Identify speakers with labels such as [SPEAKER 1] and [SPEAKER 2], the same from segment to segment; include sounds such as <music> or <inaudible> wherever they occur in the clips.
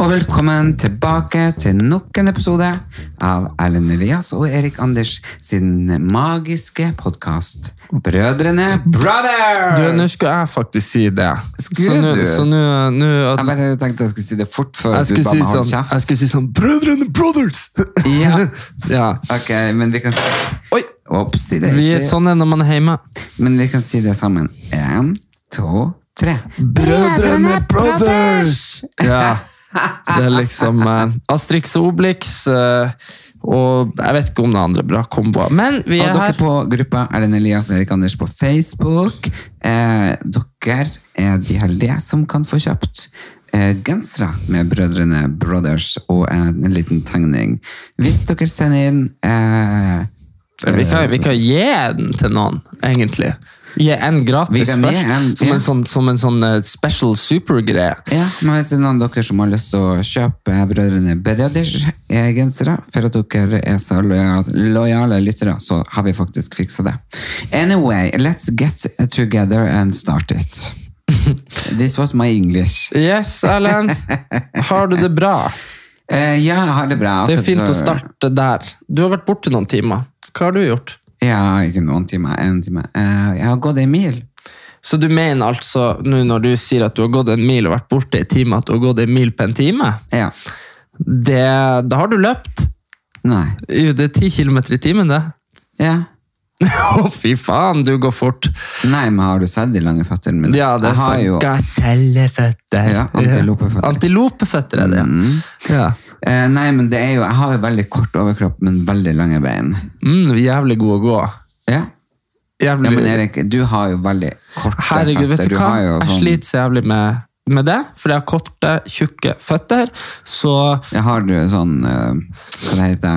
[SPEAKER 1] Og velkommen tilbake til nok en episode av Erlend Elias og Erik Anders sin magiske podkast Brødrene Brothers!
[SPEAKER 2] Du, nå skal jeg faktisk si det. Så
[SPEAKER 1] Skulle
[SPEAKER 2] nå-
[SPEAKER 1] du?
[SPEAKER 2] så nå- nå at-
[SPEAKER 1] Jeg bare tenkte jeg skulle si det fort før
[SPEAKER 2] Jeg
[SPEAKER 1] du
[SPEAKER 2] skulle
[SPEAKER 1] ba
[SPEAKER 2] si
[SPEAKER 1] meg holde
[SPEAKER 2] sånn, jeg
[SPEAKER 1] kjeft.
[SPEAKER 2] skulle si sånn Brødrene Brothers!
[SPEAKER 1] <laughs> Ja.
[SPEAKER 2] <laughs> ja.
[SPEAKER 1] Ok, men vi kan
[SPEAKER 2] Oi!
[SPEAKER 1] Ops, si det.
[SPEAKER 2] Vi er
[SPEAKER 1] Si-
[SPEAKER 2] sånn er når man er hjemme.
[SPEAKER 1] Men vi kan si det sammen. En, to, tre.
[SPEAKER 2] Brødrene Brothers! Ja. Det er liksom eh, Astrix og Obelix eh, og jeg vet ikke om det andre bra komboer. Men vi
[SPEAKER 1] Og
[SPEAKER 2] er
[SPEAKER 1] dere
[SPEAKER 2] her.
[SPEAKER 1] på gruppa Erlend Elias og Erik Anders på Facebook. Eh, dere er de heldige som kan få kjøpt eh, gensere med Brødrene Brothers og en, en liten tegning. Hvis dere sender inn eh,
[SPEAKER 2] Vi kan, vi kan gi den til noen, egentlig. Gi en
[SPEAKER 1] Vi
[SPEAKER 2] gratis
[SPEAKER 1] kan gi
[SPEAKER 2] først,
[SPEAKER 1] en,
[SPEAKER 2] som,
[SPEAKER 1] ja.
[SPEAKER 2] en sånn, som en sånn eh, special supergreie.
[SPEAKER 1] Ja, men hvis det er noen av dere som har lyst til å kjøpe Brødrene Brothers eh, gensere, for at dere er så loja- lojale lyttere, så har vi faktisk fiksa det. Anyway, let's get together and start it. This was my English.
[SPEAKER 2] Yes,
[SPEAKER 1] <laughs>
[SPEAKER 2] Erlend. Har du det bra?
[SPEAKER 1] Eh, ja, jeg har det bra.
[SPEAKER 2] Det er fint å starte der. Du har vært borte noen timer. Hva har du gjort?
[SPEAKER 1] Ja, ikke noen timer, en time. Eh, jeg har gått en mil.
[SPEAKER 2] Så du mener altså, nå når du sier at du har gått en mil og vært borte i time, at du har gått en mil på en time?
[SPEAKER 1] Ja.
[SPEAKER 2] Det, da har du løpt.
[SPEAKER 1] Nei.
[SPEAKER 2] Jo, det er ti kilometer i timen, det. <laughs>
[SPEAKER 1] Ja.
[SPEAKER 2] Å, fy faen, du går fort.
[SPEAKER 1] Nei, men har du sett de lange føttene mine?
[SPEAKER 2] Ja, det
[SPEAKER 1] Jeg
[SPEAKER 2] er
[SPEAKER 1] har
[SPEAKER 2] sånn
[SPEAKER 1] jo-
[SPEAKER 2] gaselleføtter.
[SPEAKER 1] Ja, antilopeføtter.
[SPEAKER 2] Antilopeføtter er det,
[SPEAKER 1] Mm.
[SPEAKER 2] ja.
[SPEAKER 1] Eh, nei, men det er jo, jeg har jo veldig kort overkropp, men veldig lange bein.
[SPEAKER 2] Mm, jævlig god å gå.
[SPEAKER 1] Ja.
[SPEAKER 2] Jævlig...
[SPEAKER 1] ja, men Erik, du har jo veldig korte
[SPEAKER 2] Herregud,
[SPEAKER 1] føtter.
[SPEAKER 2] vet du hva?
[SPEAKER 1] har jo
[SPEAKER 2] Jeg
[SPEAKER 1] sånn-
[SPEAKER 2] sliter så jævlig med, med det, for jeg har korte, tjukke føtter, så
[SPEAKER 1] Jeg har jo sånn, eh, hva det heter,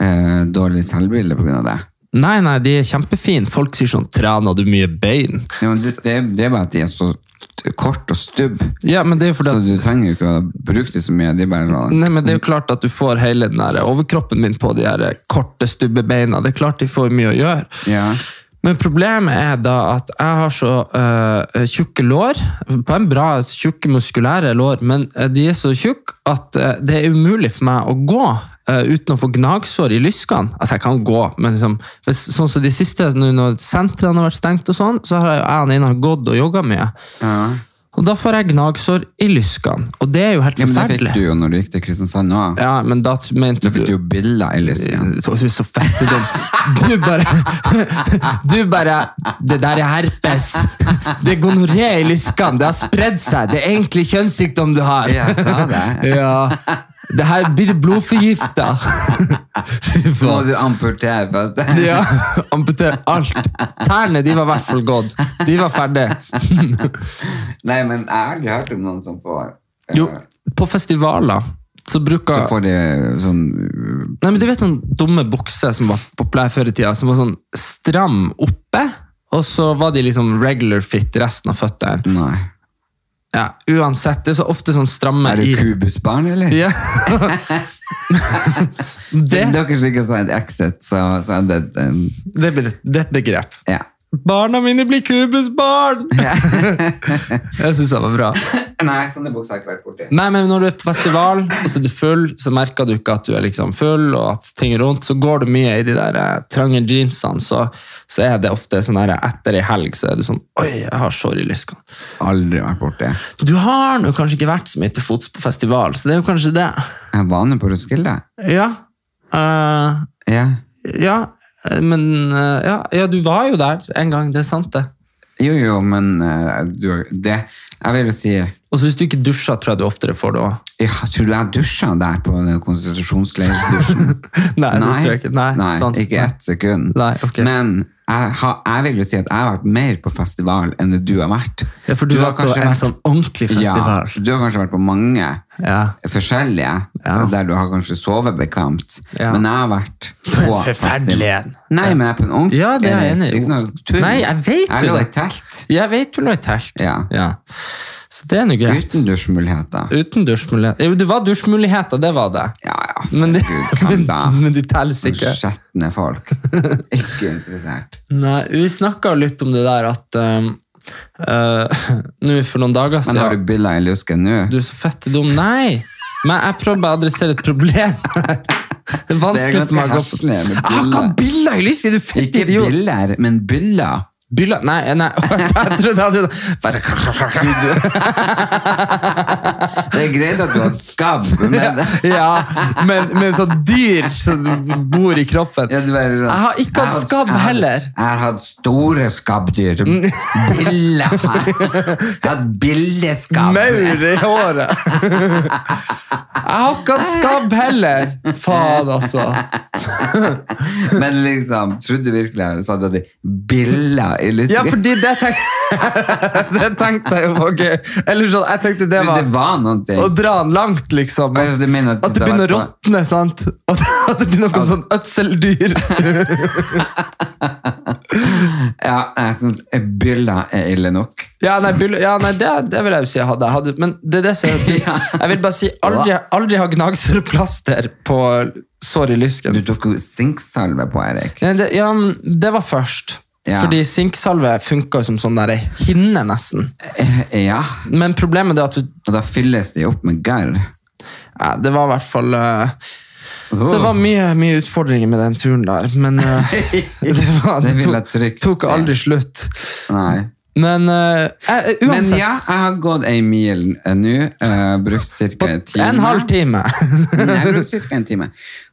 [SPEAKER 1] eh, dårlig selvbilde på grunn av det.
[SPEAKER 2] Nei, nei, de er kjempefine. Folk sier sånn 'trener du mye bein'?
[SPEAKER 1] Ja, men det, det, det er bare at de er så kort og stubb,
[SPEAKER 2] Ja, men det er jo fordi
[SPEAKER 1] så
[SPEAKER 2] at
[SPEAKER 1] du trenger jo ikke å bruke det så mye. De er bare sånn,
[SPEAKER 2] Nei, men Det er jo klart at du får hele den der overkroppen min på de her korte, stubbe beina. Det er klart de får mye å gjøre.
[SPEAKER 1] ja.
[SPEAKER 2] Men problemet er da at jeg har så eh, tjukke lår. På en bra, tjukke, muskulære lår, men eh, de er så tjukke at eh, det er umulig for meg å gå eh, uten å få gnagsår i lyskene. Altså, jeg kan gå, men liksom, hvis, sånn som de siste, nå når sentrene har vært stengt, og sånn, så har jeg, jeg og Nina gått og jogga mye.
[SPEAKER 1] ja.
[SPEAKER 2] Og da får jeg gnagsår i lyskene, og det er jo helt
[SPEAKER 1] Ja, men det fikk
[SPEAKER 2] forferdelig.
[SPEAKER 1] du jo når du gikk til Kristiansand også.
[SPEAKER 2] Ja, men da t- mente
[SPEAKER 1] Da fikk du jo biller i lysken.
[SPEAKER 2] Eh, Så- Du er så fattigdom. Du bare <laughs> Du bare Det der er herpes. Det er gonoré i lyskene. Det har spredd seg. Det er egentlig kjønnssykdom du har.
[SPEAKER 1] Jeg sa det.
[SPEAKER 2] <laughs> Ja. Det her blir blodforgifta. Fy
[SPEAKER 1] <laughs> Så må
[SPEAKER 2] faen.
[SPEAKER 1] du amputere føttene.
[SPEAKER 2] <laughs> Ja, amputere alt. Tærne de var i hvert fall gått. De var ferdige.
[SPEAKER 1] Nei, men jeg har aldri hørt om noen som får eh,
[SPEAKER 2] Jo, på festivaler så
[SPEAKER 1] Så
[SPEAKER 2] bruker
[SPEAKER 1] får de sånn uh,
[SPEAKER 2] Nei, men Du vet sånne dumme bukser som var populære før i tida, som var sånn stram oppe, og så var de liksom regular fit resten av føttene.
[SPEAKER 1] Nei.
[SPEAKER 2] Ja, uansett, det er så ofte sånn stramme
[SPEAKER 1] Er du
[SPEAKER 2] i
[SPEAKER 1] kubusbarn, eller?
[SPEAKER 2] <laughs> ja. det,
[SPEAKER 1] Siden Dere som ikke har sett Exit, så, så er det en
[SPEAKER 2] det, blir et- det er et begrep.
[SPEAKER 1] Ja.
[SPEAKER 2] Barna mine blir kubusbarn! <laughs> jeg syns det var bra.
[SPEAKER 1] Nei, sånne bukser har jeg ikke vært borti.
[SPEAKER 2] Nei, men Når du er på festival og så er du full, så merker du ikke at du er liksom full, og at ting er rundt, så går du mye i de der eh, trange jeansene, så, så er det ofte sånn her etter ei helg så er du sånn Oi, jeg har sorry lyskene.
[SPEAKER 1] Aldri vært borti.
[SPEAKER 2] Du har nå kanskje ikke vært så mye til fots på festival, så det er jo kanskje det.
[SPEAKER 1] Jeg var nå på Roskilde.
[SPEAKER 2] Ja. Eh,
[SPEAKER 1] Ja.
[SPEAKER 2] ja. eh, men eh, ja, ja, du var jo der en gang, det er sant det.
[SPEAKER 1] Jo, jo, men eh, du, det Jeg vil jo si
[SPEAKER 2] Og så hvis du ikke dusjer, tror jeg du oftere får det òg.
[SPEAKER 1] ja, Tror du jeg dusja der på den konstitusjonsleirdusjen?
[SPEAKER 2] <laughs> <laughs> Nei, det tror jeg ikke. Nei, sant.
[SPEAKER 1] ikke ett sekund.
[SPEAKER 2] Nei, ok.
[SPEAKER 1] Men jeg, har, jeg vil jo si at jeg har vært mer på festival enn det du har vært.
[SPEAKER 2] Ja, for du, var på
[SPEAKER 1] kanskje
[SPEAKER 2] en
[SPEAKER 1] vært-
[SPEAKER 2] sånn ordentlig festival.
[SPEAKER 1] Ja, du har kanskje vært på mange
[SPEAKER 2] Ja.
[SPEAKER 1] forskjellige,
[SPEAKER 2] Ja.
[SPEAKER 1] der du har kanskje sovet bekvemt.
[SPEAKER 2] Ja.
[SPEAKER 1] Men jeg har vært på
[SPEAKER 2] forferdelig en.
[SPEAKER 1] festival. Nei, men jeg er på en ordentlig.
[SPEAKER 2] Ja, det er jeg enig i.
[SPEAKER 1] Ikke noe tull.
[SPEAKER 2] Nei, jeg vet jo
[SPEAKER 1] Jeg lå i
[SPEAKER 2] det.
[SPEAKER 1] telt
[SPEAKER 2] Jeg vet du lå i telt.
[SPEAKER 1] Ja.
[SPEAKER 2] Så det er nå greit.
[SPEAKER 1] uten dusjmuligheter.
[SPEAKER 2] Uten dusjmuligheter. Jo, det var dusjmuligheter, det var det.
[SPEAKER 1] Ja, ja.
[SPEAKER 2] Men de,
[SPEAKER 1] Gud, hvem
[SPEAKER 2] men,
[SPEAKER 1] da?
[SPEAKER 2] men de telles ikke.
[SPEAKER 1] Skjetne folk. Ikke
[SPEAKER 2] <laughs>
[SPEAKER 1] interessert.
[SPEAKER 2] Nei, vi snakka litt om det der at um, eh, <laughs> Nå for noen dager
[SPEAKER 1] Men har
[SPEAKER 2] siden
[SPEAKER 1] du billa i lusken nå?
[SPEAKER 2] <laughs> Du er så fette dum. Nei! Men jeg prøver bare å adressere et problem. <laughs> her. Det er
[SPEAKER 1] Det er
[SPEAKER 2] vanskelig
[SPEAKER 1] ganske
[SPEAKER 2] for meg å gå på
[SPEAKER 1] heslig med
[SPEAKER 2] Jeg har ikke
[SPEAKER 1] biller.
[SPEAKER 2] hatt biller i lyset, du fette
[SPEAKER 1] Ikke
[SPEAKER 2] idiot!
[SPEAKER 1] biller, men byller.
[SPEAKER 2] Bylla Nei, nei. <laughs> jeg trodde jeg hadde Bare
[SPEAKER 1] Det er greit at du har et skabb,
[SPEAKER 2] <laughs>
[SPEAKER 1] men
[SPEAKER 2] Ja, men, men så dyr som bor i kroppen.
[SPEAKER 1] Ja, du bare sånn,
[SPEAKER 2] Jeg har ikke hatt
[SPEAKER 1] jeg
[SPEAKER 2] skabb
[SPEAKER 1] jeg har-
[SPEAKER 2] heller. Mm.
[SPEAKER 1] Jeg har hatt store skabbdyr. Bille her. Jeg har hatt billeskabb.
[SPEAKER 2] Maur i håret. <laughs> Jeg har ikke hatt skabb heller. Faen, altså.
[SPEAKER 1] Men liksom, trodde du virkelig jeg sa at det biller i lyset?
[SPEAKER 2] Ja, fordi det tenkte, <laughs> det tenkte jeg jo ok. Eller sånn, jeg tenkte det
[SPEAKER 1] det, var,
[SPEAKER 2] var
[SPEAKER 1] det var noen ting.
[SPEAKER 2] å dra den langt, liksom.
[SPEAKER 1] Altså,
[SPEAKER 2] At
[SPEAKER 1] du mener at
[SPEAKER 2] det
[SPEAKER 1] disse har
[SPEAKER 2] begynner å
[SPEAKER 1] vært på-
[SPEAKER 2] råtne, sant? <laughs> At, at det begynner å komme sånn ødseldyr.
[SPEAKER 1] Ja, jeg syns biller er ille nok.
[SPEAKER 2] Ja, nei, byll- ja, nei det, det vil jeg jo si jeg hadde. Jeg hadde men det er det
[SPEAKER 1] <laughs>
[SPEAKER 2] som er Jeg vil bare si aldri, aldri ha gnagsårplaster på sår i lysken.
[SPEAKER 1] Du tok jo sinksalve på, Erik.
[SPEAKER 2] Nei, det, ja, men det var først.
[SPEAKER 1] Ja.
[SPEAKER 2] Fordi sinksalve funka som sånn der hinne, nesten.
[SPEAKER 1] Ja,
[SPEAKER 2] Men problemet er at vi,
[SPEAKER 1] og da fylles de opp med garr.
[SPEAKER 2] ja, det var i hvert fall eh, Det
[SPEAKER 1] Oh.
[SPEAKER 2] var mye, mye utfordringer med den turen der, men
[SPEAKER 1] <laughs>
[SPEAKER 2] eh, det, var,
[SPEAKER 1] Det
[SPEAKER 2] det
[SPEAKER 1] vil jeg
[SPEAKER 2] tok,
[SPEAKER 1] trygt
[SPEAKER 2] tok
[SPEAKER 1] si.
[SPEAKER 2] aldri slutt.
[SPEAKER 1] Nei.
[SPEAKER 2] Men eh, eh,
[SPEAKER 1] Men
[SPEAKER 2] uansett
[SPEAKER 1] ja, jeg har gått ei mil eh, nå. eh, brukt ca. en time.
[SPEAKER 2] En halv
[SPEAKER 1] <laughs>
[SPEAKER 2] time.
[SPEAKER 1] Men jeg brukte ca. en time.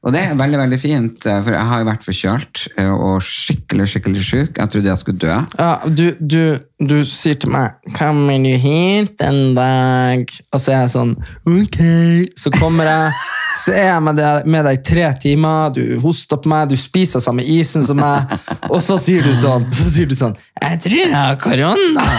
[SPEAKER 1] Og det er veldig veldig fint, eh, for jeg har jo vært forkjølt eh, og skikkelig skikkelig sjuk. Jeg trodde jeg skulle dø.
[SPEAKER 2] Ja, du, du, du sier til meg 'Kommer du hit en dag?' Og så er jeg sånn 'Ok.' Så kommer jeg, så er jeg med deg, med deg i tre timer, du hoster på meg, du spiser samme isen som meg, og så sier du sånn, så sier du sånn 'Jeg tror jeg har korona'.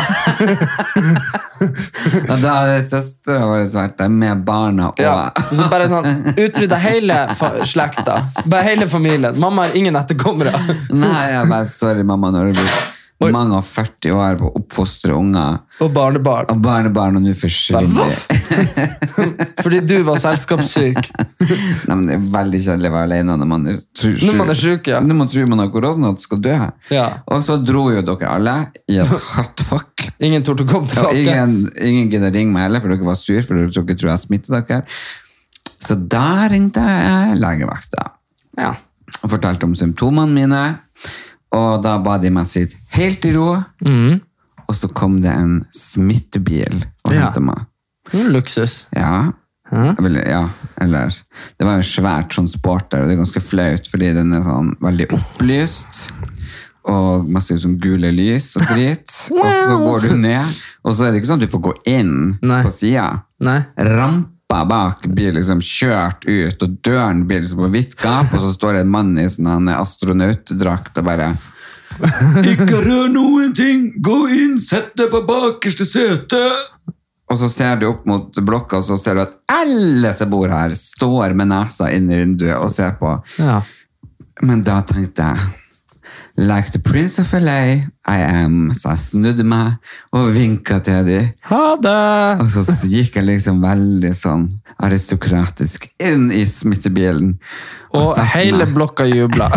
[SPEAKER 1] Og da hadde søstera vår vært der med barna og
[SPEAKER 2] Ja. Og så bare sånn utrydda hele fa- slekta. Bare hele familien. Mamma har ingen etterkommere.
[SPEAKER 1] <laughs> Nei, jeg bare sorry, mamma, når du blir mange og 40 år på å oppfostre unger
[SPEAKER 2] Og barnebarn.
[SPEAKER 1] og barnebarn, og nå forsvinner
[SPEAKER 2] Voff!
[SPEAKER 1] de.
[SPEAKER 2] Fordi du var selskapssyk.
[SPEAKER 1] Nei, men Det er veldig kjedelig å være alene når man er, tru,
[SPEAKER 2] Når man er syk, ja.
[SPEAKER 1] Når man tror man har korona og skal dø.
[SPEAKER 2] Ja.
[SPEAKER 1] Og så dro jo dere alle i
[SPEAKER 2] <laughs>
[SPEAKER 1] et hotfuck.
[SPEAKER 2] Ingen torde å komme
[SPEAKER 1] Og
[SPEAKER 2] tilbake.
[SPEAKER 1] ingen, ingen gidder ringe meg heller, for dere var sur, for dere tror ikke tror jeg smittet dere. Så da ringte jeg legevakta
[SPEAKER 2] Ja.
[SPEAKER 1] og fortalte om symptomene mine. Og da ba de meg sitte helt i ro.
[SPEAKER 2] Mm.
[SPEAKER 1] Og så kom det en smittebil og
[SPEAKER 2] Ja.
[SPEAKER 1] hentet meg.
[SPEAKER 2] Det er Luksus.
[SPEAKER 1] Ja. Vel, ja, eller Det var en svært sånn sport der, og det er ganske flaut, fordi den er sånn veldig opplyst. Og masse sånn gule lys og dritt. Og så går du ned, og så er det ikke sånn at du får gå inn
[SPEAKER 2] Nei.
[SPEAKER 1] på sida.
[SPEAKER 2] Nei.
[SPEAKER 1] Rampa bak blir liksom kjørt ut, og døren blir liksom på vidt gap, og så står det en mann i sånn en astronautdrakt og bare Ikke rør noen ting! Gå inn, sett deg på bakerste sete! Og så ser du opp mot blokka, og så ser du at alle som bor her, står med nesa inn i vinduet og ser på.
[SPEAKER 2] Ja.
[SPEAKER 1] Men da tenkte jeg Like the prince of LA, I am. Så jeg snudde meg og vinka til dem.
[SPEAKER 2] Ha det!
[SPEAKER 1] Og så gikk jeg liksom veldig sånn aristokratisk inn i smittebilen.
[SPEAKER 2] Og
[SPEAKER 1] satte
[SPEAKER 2] hele
[SPEAKER 1] meg.
[SPEAKER 2] blokka
[SPEAKER 1] <laughs>
[SPEAKER 2] jubla.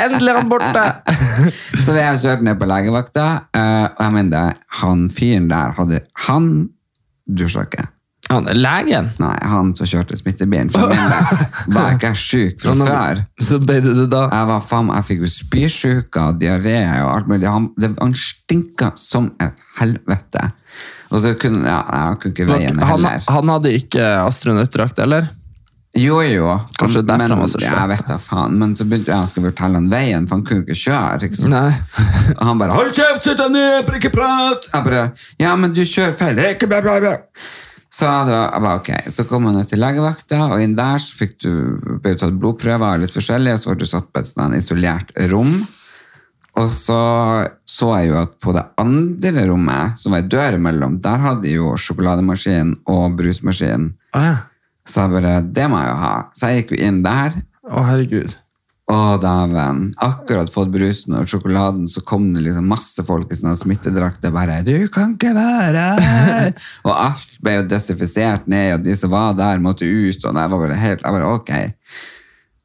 [SPEAKER 2] Endelig er han borte!
[SPEAKER 1] Så ble jeg kjørt ned på legevakta, eh, og jeg mener det, han fyren der hadde Han dusja ikke.
[SPEAKER 2] Han, legen?
[SPEAKER 1] Nei, han som kjørte smittebilen. For min del var ikke jeg syk
[SPEAKER 2] <laughs>
[SPEAKER 1] fra
[SPEAKER 2] Han-
[SPEAKER 1] før.
[SPEAKER 2] Så ble du det da?
[SPEAKER 1] Jeg var faen, jeg fikk jo spysjuka, diaré og alt mulig. Han, det, han stinka som et helvete. Og så kunne ja, jeg kunne ikke veien
[SPEAKER 2] Han,
[SPEAKER 1] heller.
[SPEAKER 2] han hadde ikke astronautdrakt, eller?
[SPEAKER 1] Jo, jo.
[SPEAKER 2] Kanskje
[SPEAKER 1] Men-
[SPEAKER 2] derfra
[SPEAKER 1] men,
[SPEAKER 2] var så
[SPEAKER 1] ja, Jeg
[SPEAKER 2] skjønt.
[SPEAKER 1] vet da faen. Men så begynte jeg å fortelle han veien, for han kunne jo ikke kjøre. Ikke sant?
[SPEAKER 2] Nei.
[SPEAKER 1] Og han bare 'hold kjeft, sitt deg ned, bare ikke prat'. Jeg bare 'ja, men du kjører feil', ikke bla, bla, bla. Så det var, jeg bare, ok, så kom han ut til legevakta, og inn der så fikk du, ble du tatt blodprøver og litt forskjellig, og så ble du satt på et sånn isolert rom. Og så så jeg jo at på det andre rommet, som var ei dør imellom, der hadde jo sjokolademaskin og brusmaskin.
[SPEAKER 2] Å ja.
[SPEAKER 1] Så jeg bare, det må jeg jo ha. Så jeg gikk jo inn der,
[SPEAKER 2] Å, herregud.
[SPEAKER 1] å, dæven. Akkurat fått brusen og sjokoladen, så kom det liksom masse folk i sånne smittedrakter. Bare 'Du kan ikke være
[SPEAKER 2] <laughs>
[SPEAKER 1] her!' og alt ble jo desinfisert ned, og de som var der, måtte ut. Og jeg var bare helt Jeg bare ok.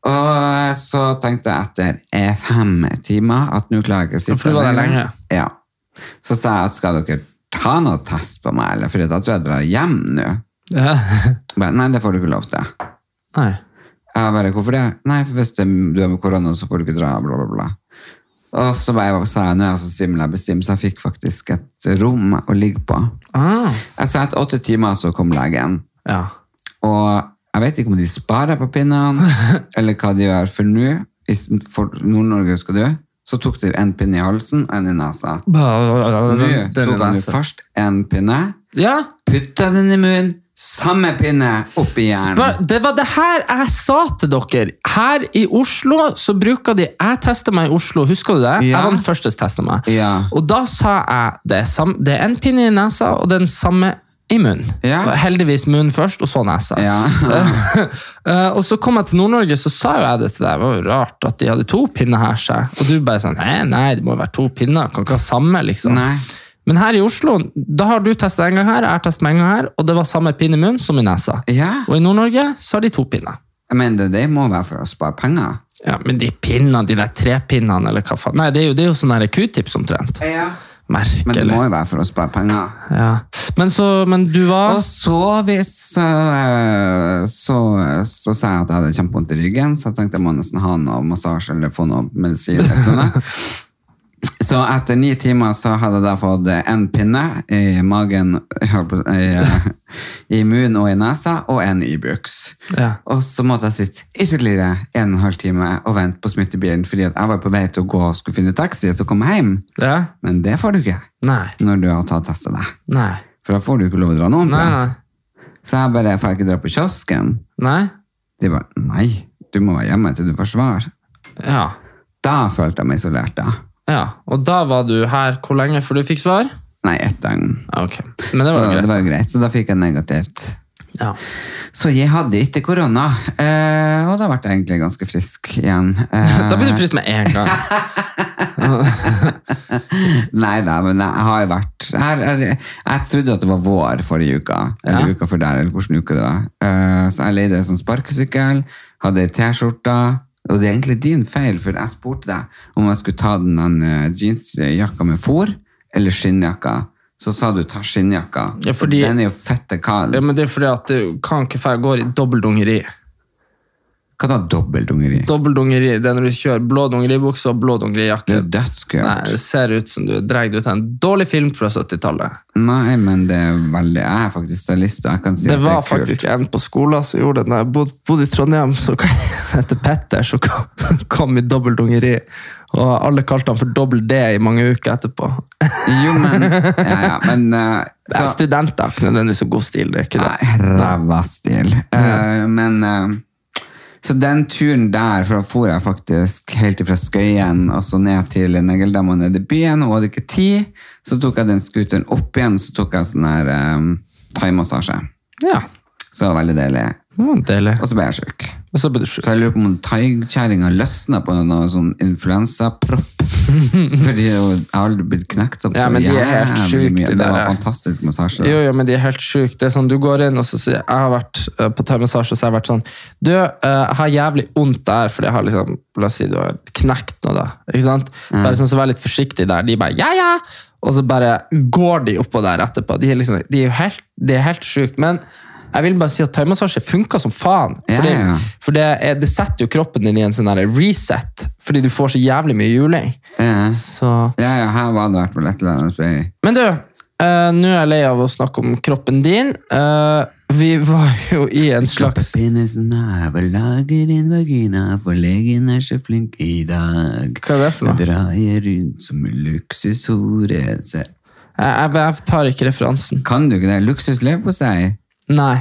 [SPEAKER 1] Og så tenkte jeg etter eh, fem timer at nå klarer jeg ikke å sitte
[SPEAKER 2] For du var der lenge.
[SPEAKER 1] Ja. Så sa jeg at skal dere ta noe test på meg, eller? For da tror jeg jeg drar hjem nå.
[SPEAKER 2] Ja. <laughs>
[SPEAKER 1] Bare, Nei, det får du ikke lov til.
[SPEAKER 2] Nei.
[SPEAKER 1] Jeg bare, hvorfor det? Nei, for hvis det, du har med korona, så får du ikke dra, bla, bla, bla. Og så bare, sa jeg, nå er jeg så svimmel, jeg besvimer, så jeg fikk faktisk et rom å ligge på.
[SPEAKER 2] Ah.
[SPEAKER 1] Altså, etter åtte timer så kom legen,
[SPEAKER 2] Ja.
[SPEAKER 1] og jeg vet ikke om de sparer på pinnene, eller hva de gjør, for nå, hvis for Nord-Norge skal du, så tok de en pinne i halsen og en i nesa. Nå tok han jo først en pinne,
[SPEAKER 2] Ja.
[SPEAKER 1] puttet den i munnen, samme pinne opp i hjernen.
[SPEAKER 2] Spør, det var det her jeg sa til dere. Her i Oslo så bruker de Jeg testa meg i Oslo, husker du det?
[SPEAKER 1] Ja.
[SPEAKER 2] Jeg var den første som testa meg.
[SPEAKER 1] Ja.
[SPEAKER 2] Og da sa jeg det er, sam, det er en pinne i nesa og den samme i munnen.
[SPEAKER 1] Ja.
[SPEAKER 2] Og Heldigvis munnen først, og så nesa.
[SPEAKER 1] Ja.
[SPEAKER 2] <laughs>
[SPEAKER 1] <laughs>
[SPEAKER 2] Eh, og så kom jeg til Nord-Norge, så sa jo jeg det til deg. Det var jo rart at de hadde to pinner her. sa jeg. Og du bare sånn Nei, nei, det må jo være to pinner. Kan ikke ha samme, liksom.
[SPEAKER 1] Nei.
[SPEAKER 2] Men her i Oslo, da har du testa en gang her, jeg har testet meg en gang her, og det var samme pinne i munnen som i nesa.
[SPEAKER 1] Ja.
[SPEAKER 2] Og i Nord-Norge så har de to pinner.
[SPEAKER 1] Jeg mener, det må være for å spare penger.
[SPEAKER 2] Ja, Men de pinnene, de der trepinnene, eller hva faen Nei, det er jo, det er jo sånn der q-tips omtrent.
[SPEAKER 1] Men det
[SPEAKER 2] Merkelig.
[SPEAKER 1] må jo være for å spare penger.
[SPEAKER 2] Ja. Men så Men du var
[SPEAKER 1] Og så hvis eh, så, så sa jeg at jeg hadde kjempevondt i ryggen, så jeg tenkte jeg må nesten ha noe massasje eller få noe medisin. eller noe. Så etter ni timer så hadde jeg da fått en pinne i magen, jeg holdt på å si, eh, i, i munnen og i nesa, og en i buks.
[SPEAKER 2] Ja.
[SPEAKER 1] Og så måtte jeg sitte ytterligere en og en halv time og vente på smittebilen, fordi at jeg var på vei til å gå og skulle finne taxi til å komme hjem.
[SPEAKER 2] Ja?
[SPEAKER 1] Men det får du ikke
[SPEAKER 2] Nei.
[SPEAKER 1] når du har tatt testet deg.
[SPEAKER 2] Nei.
[SPEAKER 1] For da får du ikke lov å dra noen
[SPEAKER 2] Nei.
[SPEAKER 1] plass.
[SPEAKER 2] Nei.
[SPEAKER 1] Så jeg bare, får jeg ikke dra på kiosken?
[SPEAKER 2] nei.
[SPEAKER 1] De bare, nei, du må være hjemme til du får svar.
[SPEAKER 2] Ja.
[SPEAKER 1] Da følte jeg meg isolert da.
[SPEAKER 2] ja. Og da var du her hvor lenge før du fikk svar?
[SPEAKER 1] Nei, ett døgn.
[SPEAKER 2] Ja, ok. Men det
[SPEAKER 1] Så
[SPEAKER 2] var jo
[SPEAKER 1] det
[SPEAKER 2] greit.
[SPEAKER 1] var jo greit, så da fikk jeg negativt.
[SPEAKER 2] Ja.
[SPEAKER 1] Så jeg hadde ikke korona, eh, og da ble jeg egentlig ganske frisk igjen. Eh,
[SPEAKER 2] Da ble du fritt med en gang.
[SPEAKER 1] Nei da, men jeg har jo vært her, er, Jeg trodde at det var vår forrige uka, eller
[SPEAKER 2] Ja.
[SPEAKER 1] uka før der, eller hvilken uke det var. Eh, så jeg leide en sånn sparkesykkel, hadde ei T-skjorte. Og det er egentlig din feil, for jeg spurte deg om jeg skulle ta den eh, jeansjakka med fôr eller skinnjakka. Så sa du ta skinnjakka.
[SPEAKER 2] Ja, fordi-
[SPEAKER 1] Den er jo fette kald.
[SPEAKER 2] Ja, men det er fordi at du kan ikke fære går i dobbeltdungeri.
[SPEAKER 1] Hva da, dobbeltungeri?
[SPEAKER 2] Dobbeltdungeri det er når du kjører blå dungeribukse og blå
[SPEAKER 1] Det
[SPEAKER 2] dungerijakke.
[SPEAKER 1] er
[SPEAKER 2] Nei,
[SPEAKER 1] dødskult.
[SPEAKER 2] det ser ut som du er dratt ut av en dårlig film fra 70-tallet.
[SPEAKER 1] Nei. men det er veldig Jeg er faktisk stylist, og jeg kan si
[SPEAKER 2] Det
[SPEAKER 1] at
[SPEAKER 2] var
[SPEAKER 1] det er kult.
[SPEAKER 2] faktisk en på skolen som gjorde det. Når jeg bodde, bodde i Trondheim, så <laughs> etter Petter, så kom, <laughs> kom i dobbeltdungeri. Og alle kalte han for dobbel D i mange uker etterpå.
[SPEAKER 1] Jo, men Ja, ja, men eh,
[SPEAKER 2] <laughs> Det er studenter har ikke nødvendigvis så god stil. det er ikke det.
[SPEAKER 1] Nei, ræva stil. Eh, men eh, Så den turen der, for da for jeg faktisk helt fra Skøyen og så ned til Negeldam og ned i byen, og hadde ikke tid, så tok jeg den scooteren opp igjen, så tok jeg sånn her um, thaimassasje.
[SPEAKER 2] Ja,
[SPEAKER 1] Så det var veldig deilig.
[SPEAKER 2] det var deilig.
[SPEAKER 1] Og så ble jeg sjuk.
[SPEAKER 2] Og så ble du sjuk.
[SPEAKER 1] Så jeg lurer på om thaikjerringa løsna på noe sånn
[SPEAKER 2] <laughs>
[SPEAKER 1] influensapropp. Fordi jeg har aldri blitt knekt opp
[SPEAKER 2] Ja, men de er helt
[SPEAKER 1] jævlig
[SPEAKER 2] sjukt,
[SPEAKER 1] mye.
[SPEAKER 2] de
[SPEAKER 1] Det
[SPEAKER 2] der.
[SPEAKER 1] var fantastisk massasje.
[SPEAKER 2] Jo, jo, men de er helt sjuke. Det er sånn, du går inn og så sier jeg har vært eh, på thaimassasje, så jeg har vært sånn Du, eh, jeg har jævlig vondt der, fordi jeg har liksom La oss si du har knekt noe, da. Ikke sant? Bare sånn, så vær litt forsiktig der. De bare ja, ja! Og så bare går de oppå der etterpå. De er liksom, de er jo helt, de er helt sjukt. Men jeg vil bare si at thaimassasje funker som faen.
[SPEAKER 1] Ja,
[SPEAKER 2] Fordi,
[SPEAKER 1] ja.
[SPEAKER 2] For det, er, det setter jo kroppen din i en sånn der reset, fordi du får så jævlig mye juling.
[SPEAKER 1] Ja.
[SPEAKER 2] Så
[SPEAKER 1] Ja, ja, her var det i hvert fall et eller annet.
[SPEAKER 2] men du, eh, eh, nå er jeg lei av å snakke om kroppen din. Eh, vi var jo i en slags
[SPEAKER 1] Penisen er vel lager en vagina, for legen er så flink i dag.
[SPEAKER 2] Hva er det for noe?
[SPEAKER 1] Jeg dreier rundt som en luksushore. Se.
[SPEAKER 2] Jeg, jeg, jeg tar ikke referansen.
[SPEAKER 1] Kan du ikke det? Luksusleverpostei?
[SPEAKER 2] Nei.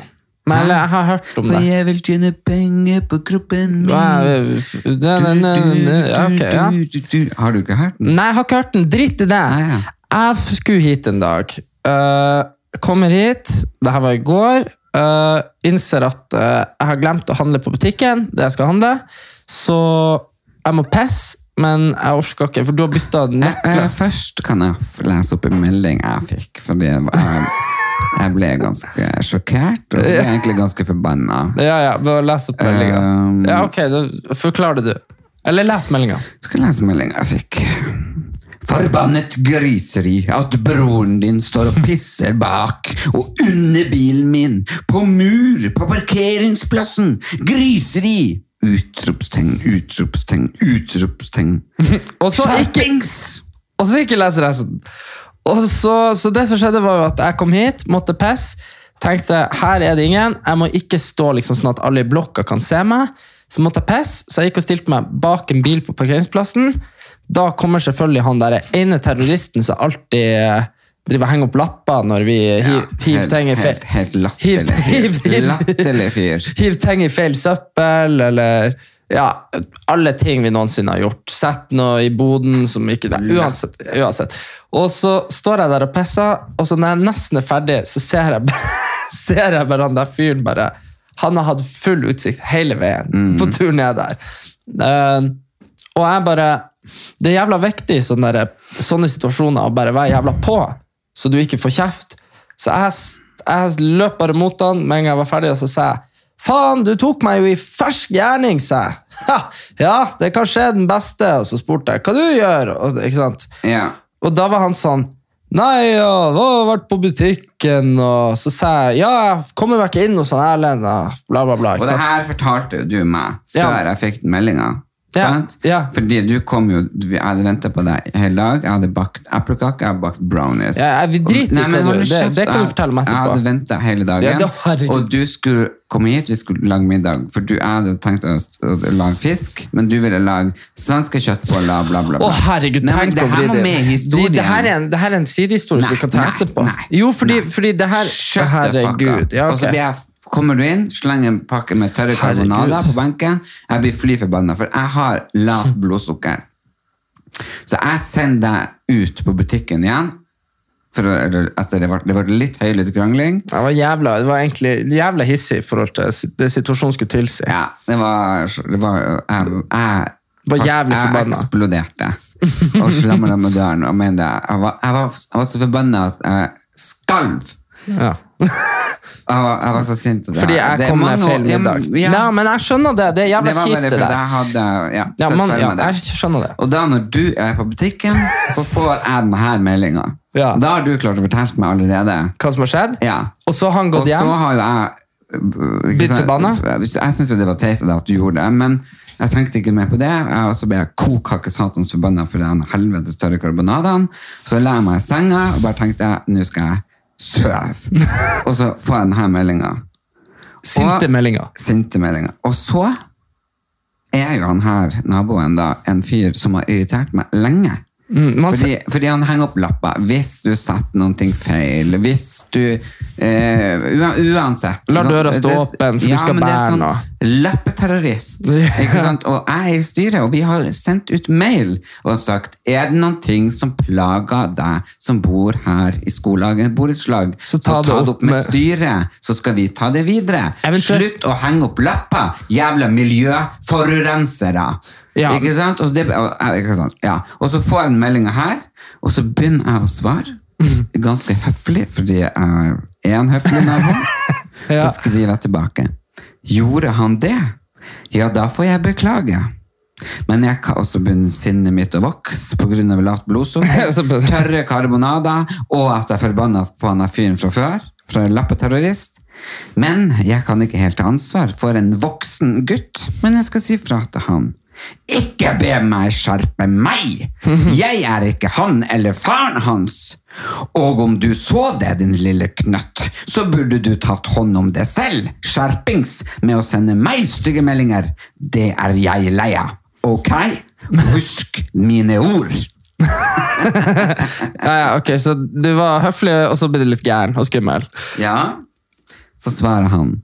[SPEAKER 2] Men jeg, jeg har hørt om
[SPEAKER 1] For
[SPEAKER 2] det.
[SPEAKER 1] jeg vil tjene penger på kroppen min.
[SPEAKER 2] Hva er det? Det- det- det- det- ja, ok, ja.
[SPEAKER 1] du, du, du. Har du ikke hørt den?
[SPEAKER 2] Nei, jeg har ikke hørt den. Drit i det.
[SPEAKER 1] Nei, ja.
[SPEAKER 2] Jeg skulle hit en dag. Eh, kommer hit. Dette var i går. Eh, innser at eh, jeg har glemt å handle på butikken. Det jeg skal handle. Så jeg må pisse, men jeg orker ikke, for du har bytta
[SPEAKER 1] Jeg, jeg,
[SPEAKER 2] nøkler.
[SPEAKER 1] først kan jeg f- lese opp en melding jeg fikk, fordi jeg, var- jeg, jeg ble ganske sjokkert, og så ble jeg egentlig ganske forbanna.
[SPEAKER 2] Ja, ja, bare les opp meldinga.
[SPEAKER 1] Um,
[SPEAKER 2] ja, ok, da forklar det, du. Eller les meldinga.
[SPEAKER 1] Skal jeg lese meldingen jeg fikk. Forbannet griseri at broren din står og pisser bak og under bilen min, på mur, på parkeringsplassen. Griseri! Utropstegn, utropstegn, utropstegn.
[SPEAKER 2] Og <laughs> så ikke
[SPEAKER 1] Skjerpings!
[SPEAKER 2] Og så ikke lese resten. Og så, så det som skjedde var jo at jeg kom hit, måtte pisse, tenkte her er det ingen, jeg må ikke stå liksom sånn at alle i blokka kan se meg. Så måtte jeg pisse, så jeg gikk og stilte meg bak en bil på parkeringsplassen. Da kommer selvfølgelig han der ene terroristen som alltid eh, driver og henger opp lapper når vi hi- hiver ting i feil
[SPEAKER 1] Helt, helt
[SPEAKER 2] hiv-
[SPEAKER 1] latterlig
[SPEAKER 2] hiv-
[SPEAKER 1] fyr.
[SPEAKER 2] hiv-
[SPEAKER 1] Latterlig fyr.
[SPEAKER 2] <laughs> Hiv ting i feil søppel, eller ja, alle ting vi noensinne har gjort. Sett noe i boden som ikke det, uansett, uansett. Og så står jeg der og pisser, og så når jeg nesten er ferdig, så ser jeg, bare- <laughs> ser jeg bare han der fyren bare Han har hatt full utsikt hele veien
[SPEAKER 1] Mm.
[SPEAKER 2] på tur ned der. Eh, og jeg bare Det er jævla viktig i sånne, der, sånne situasjoner å bare være jævla på, så du ikke får kjeft. Så jeg, s- jeg løp bare mot han med en gang jeg var ferdig, og så sa jeg Faen, du tok meg jo i fersk gjerning, sa jeg. <laughs> Ha, ja, det er kanskje den beste. Og så spurte jeg hva du gjør. Og, ikke sant?
[SPEAKER 1] Ja.
[SPEAKER 2] og da var han sånn Nei, ja, hva har vært på butikken, og så sa jeg ja, jeg kommer meg ikke inn hos han Erlend, og bla, bla, bla.
[SPEAKER 1] Og
[SPEAKER 2] Ikke
[SPEAKER 1] det
[SPEAKER 2] sant?
[SPEAKER 1] her fortalte jo du meg
[SPEAKER 2] Ja.
[SPEAKER 1] før jeg fikk den meldinga.
[SPEAKER 2] Ja, ja.
[SPEAKER 1] Fordi du kom jo du- Jeg hadde venta på deg i hele dag. Jeg hadde bakt eplekake, jeg hadde bakt brownies.
[SPEAKER 2] Ja, jeg- vi driter i
[SPEAKER 1] Nei, men
[SPEAKER 2] hva du-
[SPEAKER 1] hold
[SPEAKER 2] det-
[SPEAKER 1] kjeft,
[SPEAKER 2] det kan du
[SPEAKER 1] jeg-
[SPEAKER 2] fortelle meg etterpå.
[SPEAKER 1] Jeg hadde venta hele dagen,
[SPEAKER 2] Ja, det- herregud.
[SPEAKER 1] og du skulle komme hit, vi skulle lage middag. For du jeg hadde tenkt å, å lage fisk, men du ville lage svenske kjøttboller, bla, bla, bla.
[SPEAKER 2] Å, herregud,
[SPEAKER 1] Nei, men
[SPEAKER 2] tenk
[SPEAKER 1] det
[SPEAKER 2] å
[SPEAKER 1] her
[SPEAKER 2] vri
[SPEAKER 1] må med i historien.
[SPEAKER 2] Det her er en, det her er en sidehistorie
[SPEAKER 1] Nei,
[SPEAKER 2] som vi kan ta
[SPEAKER 1] nei,
[SPEAKER 2] etterpå.
[SPEAKER 1] nei,
[SPEAKER 2] jo, fordi,
[SPEAKER 1] nei.
[SPEAKER 2] fordi det her
[SPEAKER 1] Shut the fuck
[SPEAKER 2] Herregud.
[SPEAKER 1] up. Altså,
[SPEAKER 2] Ja,
[SPEAKER 1] Og så
[SPEAKER 2] ok.
[SPEAKER 1] blir jeg, kommer du inn, slenger en pakke med tørre
[SPEAKER 2] Herregud.
[SPEAKER 1] karbonader på benken. Jeg blir fly forbanna, for jeg har lavt blodsukker. Så jeg sender deg ut på butikken igjen. For å- eller etter det, ble, det ble litt høylytt krangling.
[SPEAKER 2] Det var, jævla, det var egentlig jævla hissig i forhold til si- det situasjonen skulle tilsi.
[SPEAKER 1] Ja, det var, det var Jeg, jeg,
[SPEAKER 2] Var jævlig
[SPEAKER 1] jeg
[SPEAKER 2] forbanna.
[SPEAKER 1] eksploderte.
[SPEAKER 2] <laughs>
[SPEAKER 1] Og slamra med døren. Og mente, jeg, var, jeg, var, jeg var så forbanna at jeg skalv.
[SPEAKER 2] Ja.
[SPEAKER 1] Jeg var, jeg var så sint. og det-
[SPEAKER 2] Fordi
[SPEAKER 1] det
[SPEAKER 2] jeg
[SPEAKER 1] er
[SPEAKER 2] kom med
[SPEAKER 1] mange
[SPEAKER 2] feil
[SPEAKER 1] år- ja, men-
[SPEAKER 2] middag.
[SPEAKER 1] ja.
[SPEAKER 2] Nei, men jeg skjønner det. Det er
[SPEAKER 1] Det
[SPEAKER 2] jævla
[SPEAKER 1] var
[SPEAKER 2] kjipt,
[SPEAKER 1] bare
[SPEAKER 2] det
[SPEAKER 1] fordi
[SPEAKER 2] der.
[SPEAKER 1] jeg hadde ja,
[SPEAKER 2] Ja,
[SPEAKER 1] sett
[SPEAKER 2] man,
[SPEAKER 1] feil
[SPEAKER 2] ja,
[SPEAKER 1] med det.
[SPEAKER 2] jeg skjønner det.
[SPEAKER 1] Og da når du er på butikken,
[SPEAKER 2] <laughs>
[SPEAKER 1] så får jeg denne meldinga.
[SPEAKER 2] Ja.
[SPEAKER 1] Da har du klart å fortelle meg allerede.
[SPEAKER 2] Hva som har skjedd?
[SPEAKER 1] Ja.
[SPEAKER 2] Og så har han
[SPEAKER 1] Og
[SPEAKER 2] gått hjem.
[SPEAKER 1] så har jo jeg øh, ikke
[SPEAKER 2] Blitt
[SPEAKER 1] sant,
[SPEAKER 2] forbanna?
[SPEAKER 1] Jeg syns jo det var teit av deg at du gjorde det, men jeg tenkte ikke mer på det. Jeg- Og så ble jeg kokhake satans forbanna for den helvetes tørre karbonaden. Så la jeg meg i senga og bare tenkte nå skal jeg
[SPEAKER 2] <laughs>
[SPEAKER 1] sove. og så får jeg denne meldinga
[SPEAKER 2] Sinte meldinger.
[SPEAKER 1] sendte meldinger. Og så er jo han her, naboen, da, en fyr som har irritert meg lenge.
[SPEAKER 2] Mm, man
[SPEAKER 1] Fordi, fordi han henger opp lapper. Hvis du setter noen ting feil, hvis du eh, ua- Uansett.
[SPEAKER 2] La
[SPEAKER 1] sånn-
[SPEAKER 2] døra stå
[SPEAKER 1] det-
[SPEAKER 2] åpen, for du skal
[SPEAKER 1] men det er
[SPEAKER 2] bære
[SPEAKER 1] sånn
[SPEAKER 2] noe. <laughs>
[SPEAKER 1] Lappeterrorist. Ikke sant? Og jeg er i styret, og vi har sendt ut mail og sagt er det noen ting som plager deg som bor her i skolagen, borettslag,
[SPEAKER 2] Så ta det opp med-
[SPEAKER 1] styret, så skal vi ta det videre.
[SPEAKER 2] Eventuelt-
[SPEAKER 1] Slutt å henge opp lapper, jævla miljøforurensere!
[SPEAKER 2] Ja.
[SPEAKER 1] Ikke sant? Og, det, og, ja, ikke sant? Ja. og så får jeg den meldinga her, og så begynner jeg å svare.
[SPEAKER 2] Mm.
[SPEAKER 1] Ganske høflig, fordi jeg er en høflig
[SPEAKER 2] <laughs>
[SPEAKER 1] nabo.
[SPEAKER 2] Ja.
[SPEAKER 1] Så skriver jeg tilbake. Gjorde han det? Ja, da får jeg beklage. Men jeg kan også begynne sinnet mitt å vokse pga. lavt blodsukker,
[SPEAKER 2] Så bare-
[SPEAKER 1] tørre karbonader og at jeg er forbanna på han der fyren fra før, fra en lappeterrorist. Men jeg kan ikke helt ta ansvar for en voksen gutt, men jeg skal si fra til han. Ikke be meg skjerpe meg! Jeg er ikke han eller faren hans! Og om du så det, din lille knøtt, så burde du tatt hånd om det selv, skjerpings, med å sende meg stygge meldinger. Det er jeg lei av. Ok? Husk mine ord.
[SPEAKER 2] Ja, ja, ok, Så du var høflig, og så ble du litt gæren og skummel.
[SPEAKER 1] Ja? Så svarer han.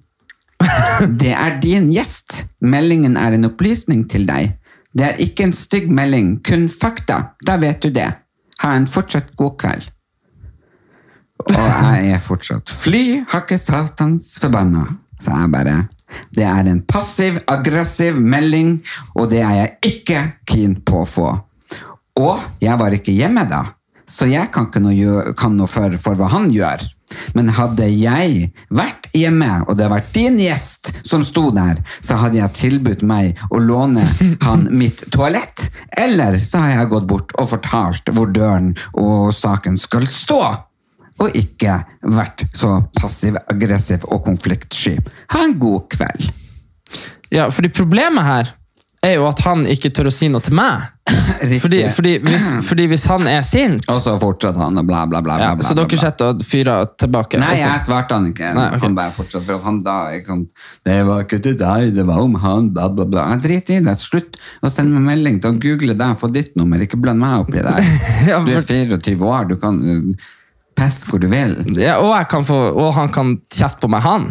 [SPEAKER 1] Det er din gjest. Meldingen er en opplysning til deg. Det er ikke en stygg melding, kun fakta. Da vet du det. Ha en fortsatt god kveld. Og jeg er fortsatt fly, hakke satans forbanna. Så jeg bare Det er en passiv, aggressiv melding, og det er jeg ikke keen på å få. Og jeg var ikke hjemme da, så jeg kan ikke noe, gjø- kan noe for, for hva han gjør. Men hadde jeg vært hjemme, og det hadde vært din gjest som sto der, så hadde jeg tilbudt meg å låne han mitt toalett. Eller så har jeg gått bort og fortalt hvor døren og saken skal stå og ikke vært så passiv, aggressiv og konfliktsky. Ha en god kveld.
[SPEAKER 2] Ja, fordi problemet her er jo at han ikke tør å si noe til meg.
[SPEAKER 1] <laughs> Riktig.
[SPEAKER 2] Fordi, fordi,
[SPEAKER 1] <clears throat>
[SPEAKER 2] hvis, fordi hvis han er sint
[SPEAKER 1] Og så fortsatte han og bla, bla, bla. bla,
[SPEAKER 2] ja,
[SPEAKER 1] bla
[SPEAKER 2] Så
[SPEAKER 1] bla,
[SPEAKER 2] dere
[SPEAKER 1] bla.
[SPEAKER 2] setter og fyrer tilbake?
[SPEAKER 1] Nei,
[SPEAKER 2] og så-
[SPEAKER 1] jeg svarte han ikke.
[SPEAKER 2] Nei, ok.
[SPEAKER 1] Han bare fortsatte. For at han da ikke sant, Det var ikke til deg, det var om han, bla, bla, bla. Jeg driter i det. Slutt å sende meg melding til å google deg og få ditt nummer. Ikke bland meg opp i det.
[SPEAKER 2] <laughs> Ja,
[SPEAKER 1] Du
[SPEAKER 2] men-
[SPEAKER 1] er 24 år, du kan uh, pesse hvor du vil.
[SPEAKER 2] ja, og, jeg kan få, og han kan kjefte på meg, han.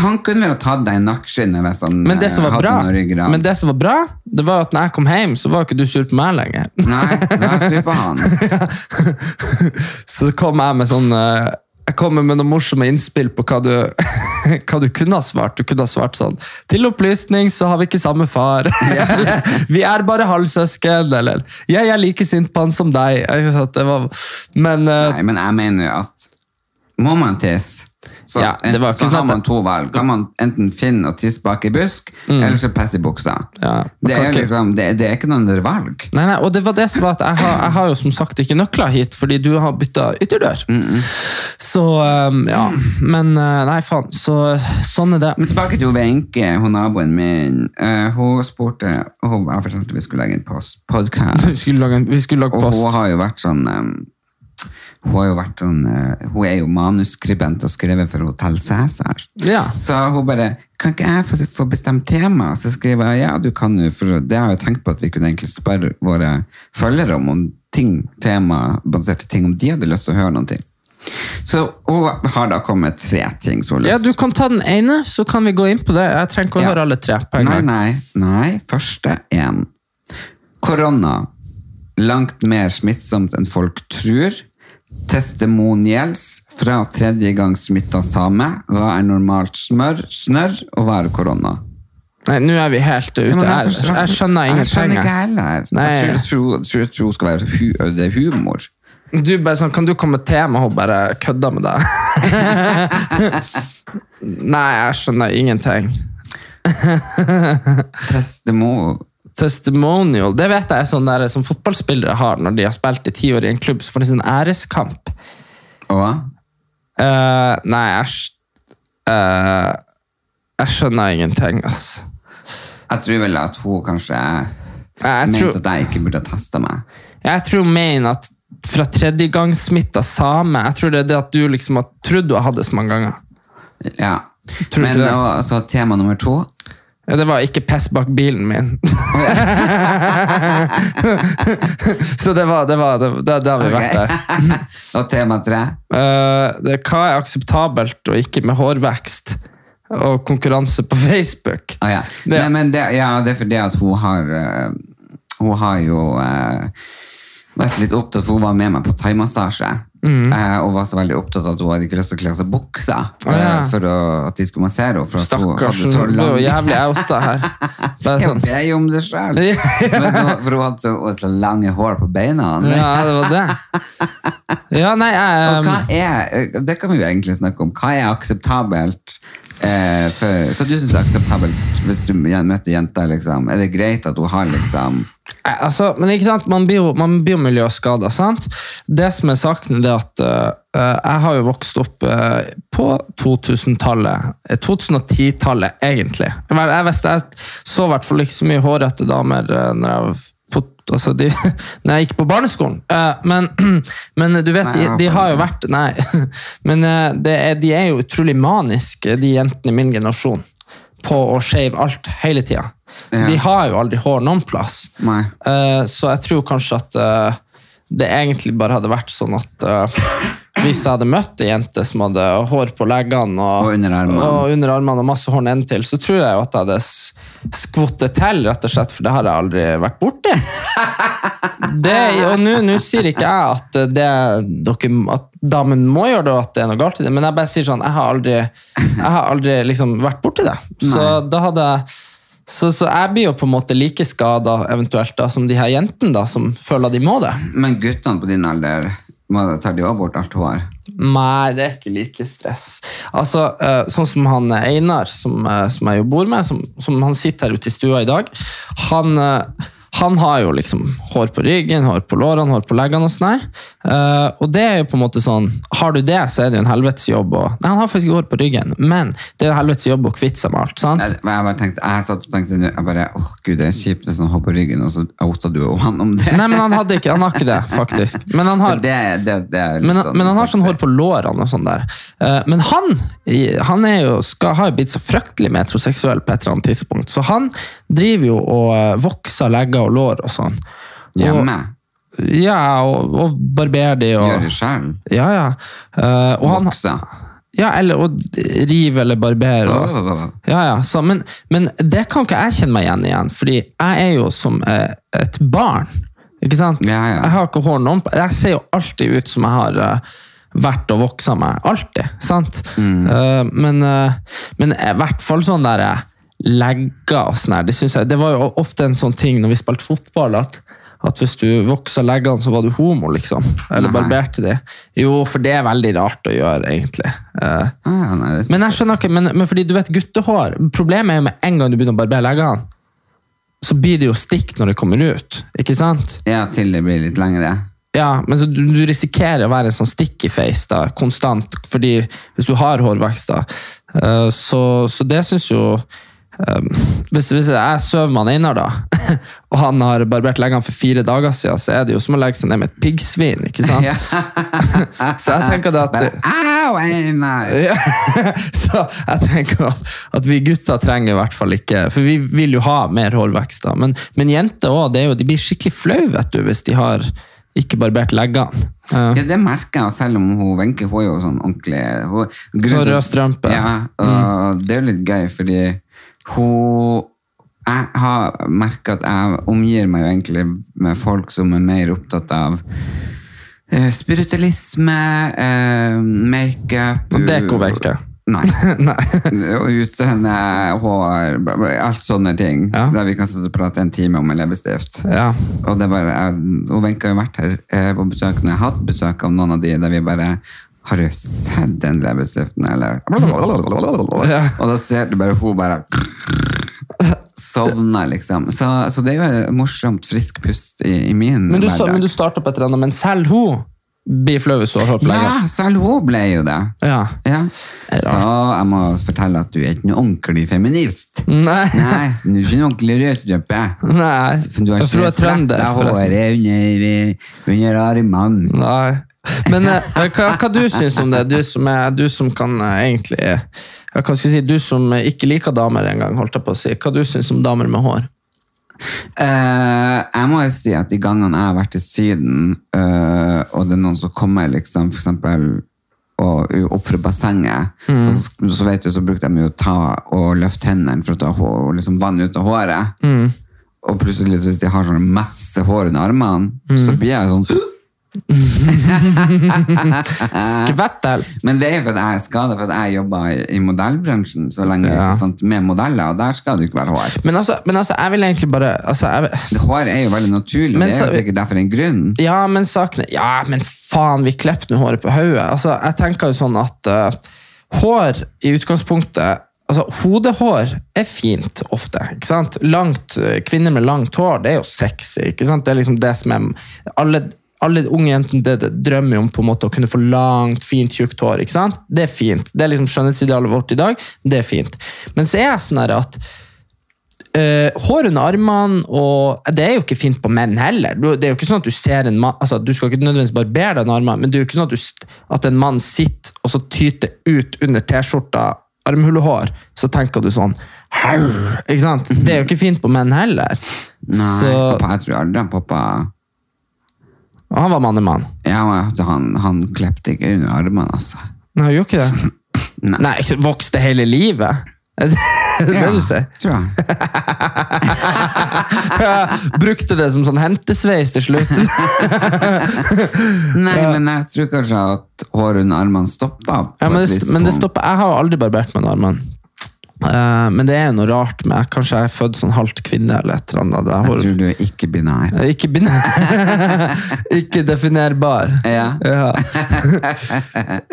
[SPEAKER 1] Han kunne vel ha tatt deg i nakkeskinnet hvis han
[SPEAKER 2] Men det, som
[SPEAKER 1] eh,
[SPEAKER 2] var
[SPEAKER 1] hadde
[SPEAKER 2] bra,
[SPEAKER 1] noe ryggrad.
[SPEAKER 2] men det som var bra, det var at når jeg kom hjem, så var ikke du sur på meg lenger.
[SPEAKER 1] Nei, la oss se på han.
[SPEAKER 2] <laughs> Så kom jeg med sånn eh, Jeg kommer med noen morsomme innspill på hva du, <laughs> hva du kunne ha svart. Du kunne ha svart sånn Til opplysning så har vi ikke samme far. <laughs> eller Vi er bare halvsøsken. Eller Jeg er like sint på han som deg. Ikke sant? Det var, men eh,
[SPEAKER 1] Nei, men jeg mener jo at må man tisse, så,
[SPEAKER 2] Ja, det var
[SPEAKER 1] så
[SPEAKER 2] ikke sånn
[SPEAKER 1] har
[SPEAKER 2] at-
[SPEAKER 1] man to valg. Kan man enten finne og tisse bak i busk, eller så pisse i buksa.
[SPEAKER 2] Mm. Ja, man
[SPEAKER 1] det,
[SPEAKER 2] kan
[SPEAKER 1] er
[SPEAKER 2] ikke-
[SPEAKER 1] liksom, det, det er ikke noen andre valg.
[SPEAKER 2] Nei, nei, og det var det som var at jeg har, jeg har jo som sagt ikke nøkler hit, fordi du har bytta ytterdør. Så um, ja, men eh, nei, faen. Så sånn er det.
[SPEAKER 1] Men tilbake til Wenche, hun naboen min. Eh, hun spurte Hun jeg fortalte vi skulle legge en post,
[SPEAKER 2] <laughs> Vi
[SPEAKER 1] podcast.
[SPEAKER 2] skulle lage, en- vi skulle lage
[SPEAKER 1] Og hun
[SPEAKER 2] post.
[SPEAKER 1] har jo vært sånn em, hun, har jo vært sånn, eh, hun er jo manuskribent og skrevet for Hotell Cæsar.
[SPEAKER 2] Ja.
[SPEAKER 1] Så hun bare Kan ikke jeg få, få bestemt tema? Så skriver jeg ja, du kan jo, for det har jeg jo tenkt på at vi kunne egentlig spørre våre følgere om, om ting, tema baserte ting, om de hadde lyst til å høre noen ting. Så hun har da kommet tre ting som hun har
[SPEAKER 2] ja,
[SPEAKER 1] lyst
[SPEAKER 2] du kan ta den ene, så kan vi gå inn på det. Jeg trenger ikke å
[SPEAKER 1] Ja.
[SPEAKER 2] høre alle tre på en
[SPEAKER 1] Nei,
[SPEAKER 2] gang.
[SPEAKER 1] nei, nei. Første én. Korona. Langt mer smittsomt enn folk tror. Testimonials fra tredje gang smitta same. Hva er normalt smør, snørr, og hva er korona?
[SPEAKER 2] Nei, nå er vi helt ute.
[SPEAKER 1] Ja, men
[SPEAKER 2] Jeg,
[SPEAKER 1] forstår-
[SPEAKER 2] jeg skjønner
[SPEAKER 1] Jeg skjønner
[SPEAKER 2] ingenting.
[SPEAKER 1] ikke
[SPEAKER 2] jeg.
[SPEAKER 1] heller.
[SPEAKER 2] Nei.
[SPEAKER 1] Jeg tror, tror, tror, tror det skal være hu, det er humor.
[SPEAKER 2] Du bare sånn, Kan du komme til meg og bare kødde med deg?
[SPEAKER 1] <laughs>
[SPEAKER 2] nei, jeg skjønner ingenting.
[SPEAKER 1] Testimo...
[SPEAKER 2] Testimonial, det vet jeg er sånn der, som fotballspillere har når de har spilt i ti år i en klubb, så får de sin æreskamp.
[SPEAKER 1] Og?
[SPEAKER 2] Eh, nei, jeg, sk- eh, jeg skjønner ingenting, ass.
[SPEAKER 1] Jeg tror vel at hun kanskje
[SPEAKER 2] Jeg
[SPEAKER 1] mente
[SPEAKER 2] tror-
[SPEAKER 1] at jeg ikke burde teste meg.
[SPEAKER 2] Jeg tror main at fra tredjegangssmitta same Jeg tror det er det at du liksom har trodd du har hatt det så mange ganger.
[SPEAKER 1] Ja.
[SPEAKER 2] Tror
[SPEAKER 1] Men
[SPEAKER 2] du det?
[SPEAKER 1] og- så tema nummer to.
[SPEAKER 2] Ja, det var ikke piss bak bilen min. <laughs> så det var, det var det, det, det har vi vært der.
[SPEAKER 1] <laughs> og tema tre.
[SPEAKER 2] Eh, det, hva er akseptabelt og ikke med hårvekst og konkurranse på Facebook?
[SPEAKER 1] Å ja.
[SPEAKER 2] Det-
[SPEAKER 1] Nei, men det, ja, det er fordi at hun har eh, Hun har jo eh, vært litt opptatt, for hun var med meg på thaimassasje. eh, og var så veldig oopptatt at hun hadde ikke lyst til å kle av seg buksa
[SPEAKER 2] Mm. Å ja.
[SPEAKER 1] eh, for å, at de skulle massere henne. For at hun
[SPEAKER 2] Stakkars,
[SPEAKER 1] hadde så
[SPEAKER 2] du er jo
[SPEAKER 1] lang <laughs>
[SPEAKER 2] jævlig outa her. Bare
[SPEAKER 1] Jeg
[SPEAKER 2] sånn.
[SPEAKER 1] ber jo om det sjøl!
[SPEAKER 2] <laughs> Ja.
[SPEAKER 1] For hun hadde så, hun hadde så lange hår på beina.
[SPEAKER 2] Ja, det var det. Ja, nei,
[SPEAKER 1] Og
[SPEAKER 2] jeg, um,
[SPEAKER 1] hva er, eh, det kan vi jo egentlig snakke om. Hva er akseptabelt eh, for Hva du synes er akseptabelt hvis du møter jenter, liksom? Er det greit at hun har liksom
[SPEAKER 2] Nei, altså, men ikke sant, man blir jo, man blir jo miljøskada, sant? Det som er saken, det er at eh, jeg har jo vokst opp eh, på 2000-tallet. eh, 2010-tallet, egentlig. Jeg, var- jeg, visste, jeg så i hvert fall ikke så mye hårete damer uh, når jeg var f- på, altså de, <laughs> når jeg gikk på barneskolen. Eh, men, <clears throat> men eh, du vet,
[SPEAKER 1] Nei, jeg
[SPEAKER 2] de,
[SPEAKER 1] har
[SPEAKER 2] de
[SPEAKER 1] ikke
[SPEAKER 2] har jo
[SPEAKER 1] det.
[SPEAKER 2] vært Nei. <laughs> Men eh, det er, de er jo utrolig maniske, de jentene i min generasjon, på å shave alt hele tida. Så
[SPEAKER 1] Ja.
[SPEAKER 2] de har jo aldri hår noen plass.
[SPEAKER 1] Nei.
[SPEAKER 2] Eh, så jeg tror kanskje at eh, det egentlig bare hadde vært sånn at eh, hvis jeg hadde møtt ei jente som hadde hår på leggene og,
[SPEAKER 1] Og under armene.
[SPEAKER 2] og, under armene og masse hår nedentil, så tror jeg jo at jeg hadde s- skvottet til, rett og slett, for det har jeg aldri
[SPEAKER 1] <laughs>
[SPEAKER 2] vært borti. Det, og nå nå sier ikke jeg at, det, dere, at damen må gjøre det, og at det er noe galt i det, men jeg bare sier sånn, jeg har aldri, jeg har aldri liksom vært borti det. Så da hadde jeg så, så jeg blir jo på en måte like skada eventuelt da, som de her jentene da, som føler de må det.
[SPEAKER 1] Men guttene på din alder, må- tar de også bort alt hår?
[SPEAKER 2] Nei, det er ikke like stress. Altså, eh, Sånn som han eh, Einar, som, eh, som jeg jo bor med, som, som han sitter her ute i stua i dag, han, eh, han har jo liksom hår på ryggen, hår på lårene, hår på leggene og sånn her. Eh, Og det er jo på en måte sånn Har du det, så er det jo en helvetes jobb å Nei, han har faktisk ikke hår på ryggen, men det er en helvetes jobb å kvitte seg med alt. sant?
[SPEAKER 1] Jeg, jeg bare tenkte, jeg satt og tenkte, nå, jeg bare, åh gud, det er kjipt hvis han har på ryggen, og så outa du og han om det.
[SPEAKER 2] Nei, men han hadde ikke, han har ikke det, faktisk. Men han har,
[SPEAKER 1] det, det, det er litt
[SPEAKER 2] men,
[SPEAKER 1] sånn,
[SPEAKER 2] men han har sånn hår på lårene og sånn der. Eh, Men han, i- han er jo, skal, har jo blitt så fryktelig metroseksuell på et eller annet tidspunkt, så han driver jo og eh, vokser legger og lår og sånn. Og-
[SPEAKER 1] Hjemme,
[SPEAKER 2] Ja, og, og barberer de
[SPEAKER 1] gjør det
[SPEAKER 2] og
[SPEAKER 1] selv.
[SPEAKER 2] Ja, ja. Eh, Og han
[SPEAKER 1] Vokse.
[SPEAKER 2] ja, eller og rive eller barbere. Og, ja, ja, så, men, men det kan ikke jeg kjenne meg igjen igjen, fordi jeg er jo som eh, et barn. Ikke sant?
[SPEAKER 1] Ja, ja.
[SPEAKER 2] Jeg har ikke hår noen på. Jeg ser jo alltid ut som jeg har eh, vært og voksa meg. Alltid. Sant?
[SPEAKER 1] Mm.
[SPEAKER 2] Eh, men, eh, men i hvert fall sånn der eh, legger og sånn her, det synes jeg Det var jo ofte en sånn ting når vi spilte fotball, at, at hvis du voksa leggene, så var du homo, liksom. Eller
[SPEAKER 1] Nei.
[SPEAKER 2] barberte de. Jo, for det er veldig rart å gjøre, egentlig. Eh,
[SPEAKER 1] Ja, ja, Ah, nei, det er
[SPEAKER 2] men jeg skjønner ikke, men, men fordi du vet guttehår Problemet er jo med en gang du begynner å barbere leggene, så blir det jo stikk når det kommer ut. Ikke sant?
[SPEAKER 1] Ja, til det blir litt lengre.
[SPEAKER 2] Ja, men så du, du risikerer å være en sånn sticky face da, konstant, fordi hvis du har hårvekst, da, eh, så, så det syns jo eh, hvis, hvis jeg sover med han Einar, da, <laughs> og han har barbert leggene for fire dager siden, så er det jo som å legge seg ned med et piggsvin. ikke sant? <laughs>
[SPEAKER 1] Ja.
[SPEAKER 2] Så jeg tenker da at
[SPEAKER 1] Bare, au, Einar!
[SPEAKER 2] ja. <laughs> Så jeg tenker at, at vi gutter trenger i hvert fall ikke For vi vil jo ha mer hårvekst, da. Men, men jenter òg. De blir skikkelig flaue, vet du, hvis de har ikke barbert leggene. Eh, <laughs>
[SPEAKER 1] Ja, det merker jeg, selv om hun Wenche får jo sånn ordentlig hun, Grunnen
[SPEAKER 2] Sånn
[SPEAKER 1] til-
[SPEAKER 2] rød strømpe. Mm.
[SPEAKER 1] Ja, og det er jo litt gøy, fordi hun Jeg har merka at jeg omgir meg jo egentlig med folk som er mer opptatt av eh, spiritualisme, eh, makeup
[SPEAKER 2] Og deko, Wenche.
[SPEAKER 1] <laughs> Nei. Og Utseende, hår, bla, bla, alt sånne ting.
[SPEAKER 2] Ja.
[SPEAKER 1] Der vi kan sitte og prate en time om en leppestift.
[SPEAKER 2] Ja.
[SPEAKER 1] Og det er bare, jeg- og Wenche har jo vært her eh, på besøk når jeg har hatt besøk av noen av de der vi bare har du sett den leppestiften, eller?
[SPEAKER 2] <laughs> Ja.
[SPEAKER 1] Og da ser du bare hun bare <laughs> sovner, liksom. Så, så det er jo et morsomt frisk pust i, i min
[SPEAKER 2] Men du, så-
[SPEAKER 1] hverdag.
[SPEAKER 2] men du starta på et eller annet, men selv hun blir flau hvis hun har hår på leggene.
[SPEAKER 1] ja, selv hun ble jo det.
[SPEAKER 2] Ja.
[SPEAKER 1] Ja. Så jeg må fortelle at du er ikke noen ordentlig feminist.
[SPEAKER 2] Mm. Nei.
[SPEAKER 1] Nei, du er ikke noen ordentlig rødstrømpe.
[SPEAKER 2] Nei.
[SPEAKER 1] For Du har
[SPEAKER 2] For hun
[SPEAKER 1] ikke
[SPEAKER 2] er trønder,
[SPEAKER 1] fletta
[SPEAKER 2] forresten.
[SPEAKER 1] håret under, under armene.
[SPEAKER 2] Nei. Men eh, hva, hva du syns om det? Du som, er, du som kan eh, egentlig eh, ja, Hva skal jeg si? Du som eh, ikke liker damer engang, holdt jeg på å si. Hva du syns om damer med hår?
[SPEAKER 1] Eh, jeg må jo si at de gangene jeg har vært i Syden, eh, og det er noen som kommer liksom, for eksempel og, opp fra bassenget,
[SPEAKER 2] Mm.
[SPEAKER 1] og så, så vet du, så bruker de jo å ta og løfte hendene for å ta hår, og liksom vann ut av håret.
[SPEAKER 2] Mm.
[SPEAKER 1] Og plutselig, så hvis de har sånn masse hår under armene,
[SPEAKER 2] Mm.
[SPEAKER 1] så blir jeg sånn
[SPEAKER 2] Skvettel!
[SPEAKER 1] Men det er jo for at jeg er skadet, for at jeg jobber i, i modellbransjen så lenge
[SPEAKER 2] Ja.
[SPEAKER 1] ikke sant, med modeller, og der skal det jo ikke være hår.
[SPEAKER 2] Men altså, men altså, jeg vil egentlig bare altså, jeg,
[SPEAKER 1] Hår er jo veldig naturlig,
[SPEAKER 2] Men
[SPEAKER 1] det er
[SPEAKER 2] så-
[SPEAKER 1] jo sikkert derfor en grunn.
[SPEAKER 2] Ja, men sakene Ja, men faen, vi klipper nå håret på hodet. Altså, jeg tenker jo sånn at eh, hår i utgangspunktet Altså, Hodehår er fint ofte. ikke sant? Langt, eh, Kvinner med langt hår det er jo sexy. ikke sant? Det er liksom det som er Alle, alle unge jenter det, det drømmer jo om på en måte å kunne få langt, fint, tjukt hår. ikke sant? Det er fint. Det er liksom skjønnhetsidealet vårt i dag. Det er fint. Men så er jeg sånn her at eh, hår under armene, og det er jo ikke fint på menn heller. Du, det er jo ikke sånn at Du ser en mann, altså du skal ikke nødvendigvis barbere deg under armene, men det er jo ikke sånn at, du, s- at en mann sitter og så tyter ut under T-skjorta armhulehår, så tenker du sånn Hau! Ikke sant? Det er jo ikke fint på menn heller.
[SPEAKER 1] Nei,
[SPEAKER 2] så
[SPEAKER 1] pappa, jeg tror aldri han pappa
[SPEAKER 2] han var mannemann.
[SPEAKER 1] Ja, men altså, han, han klepte ikke under armene, altså.
[SPEAKER 2] Nei, han gjorde ikke det.
[SPEAKER 1] <laughs> Nei.
[SPEAKER 2] Nei, ikke sant, vokste hele livet. <laughs> Er det det
[SPEAKER 1] Ja,
[SPEAKER 2] du sier?
[SPEAKER 1] Tror
[SPEAKER 2] <laughs>
[SPEAKER 1] jeg.
[SPEAKER 2] Brukte det som sånn hentesveis til slutt.
[SPEAKER 1] Nei, men jeg tror kanskje at håret under armene stoppa.
[SPEAKER 2] Ja, men det, men det stopper. Jeg har jo aldri barbert meg under armene. Eh, men det er jo noe rart med Kanskje jeg er født sånn halvt kvinne eller et eller annet. Det er
[SPEAKER 1] Jeg
[SPEAKER 2] hår-
[SPEAKER 1] tror du er ikke binær.
[SPEAKER 2] Eh, Ikke, bine- <laughs> ikke definerbar.
[SPEAKER 1] Ja.
[SPEAKER 2] Ja.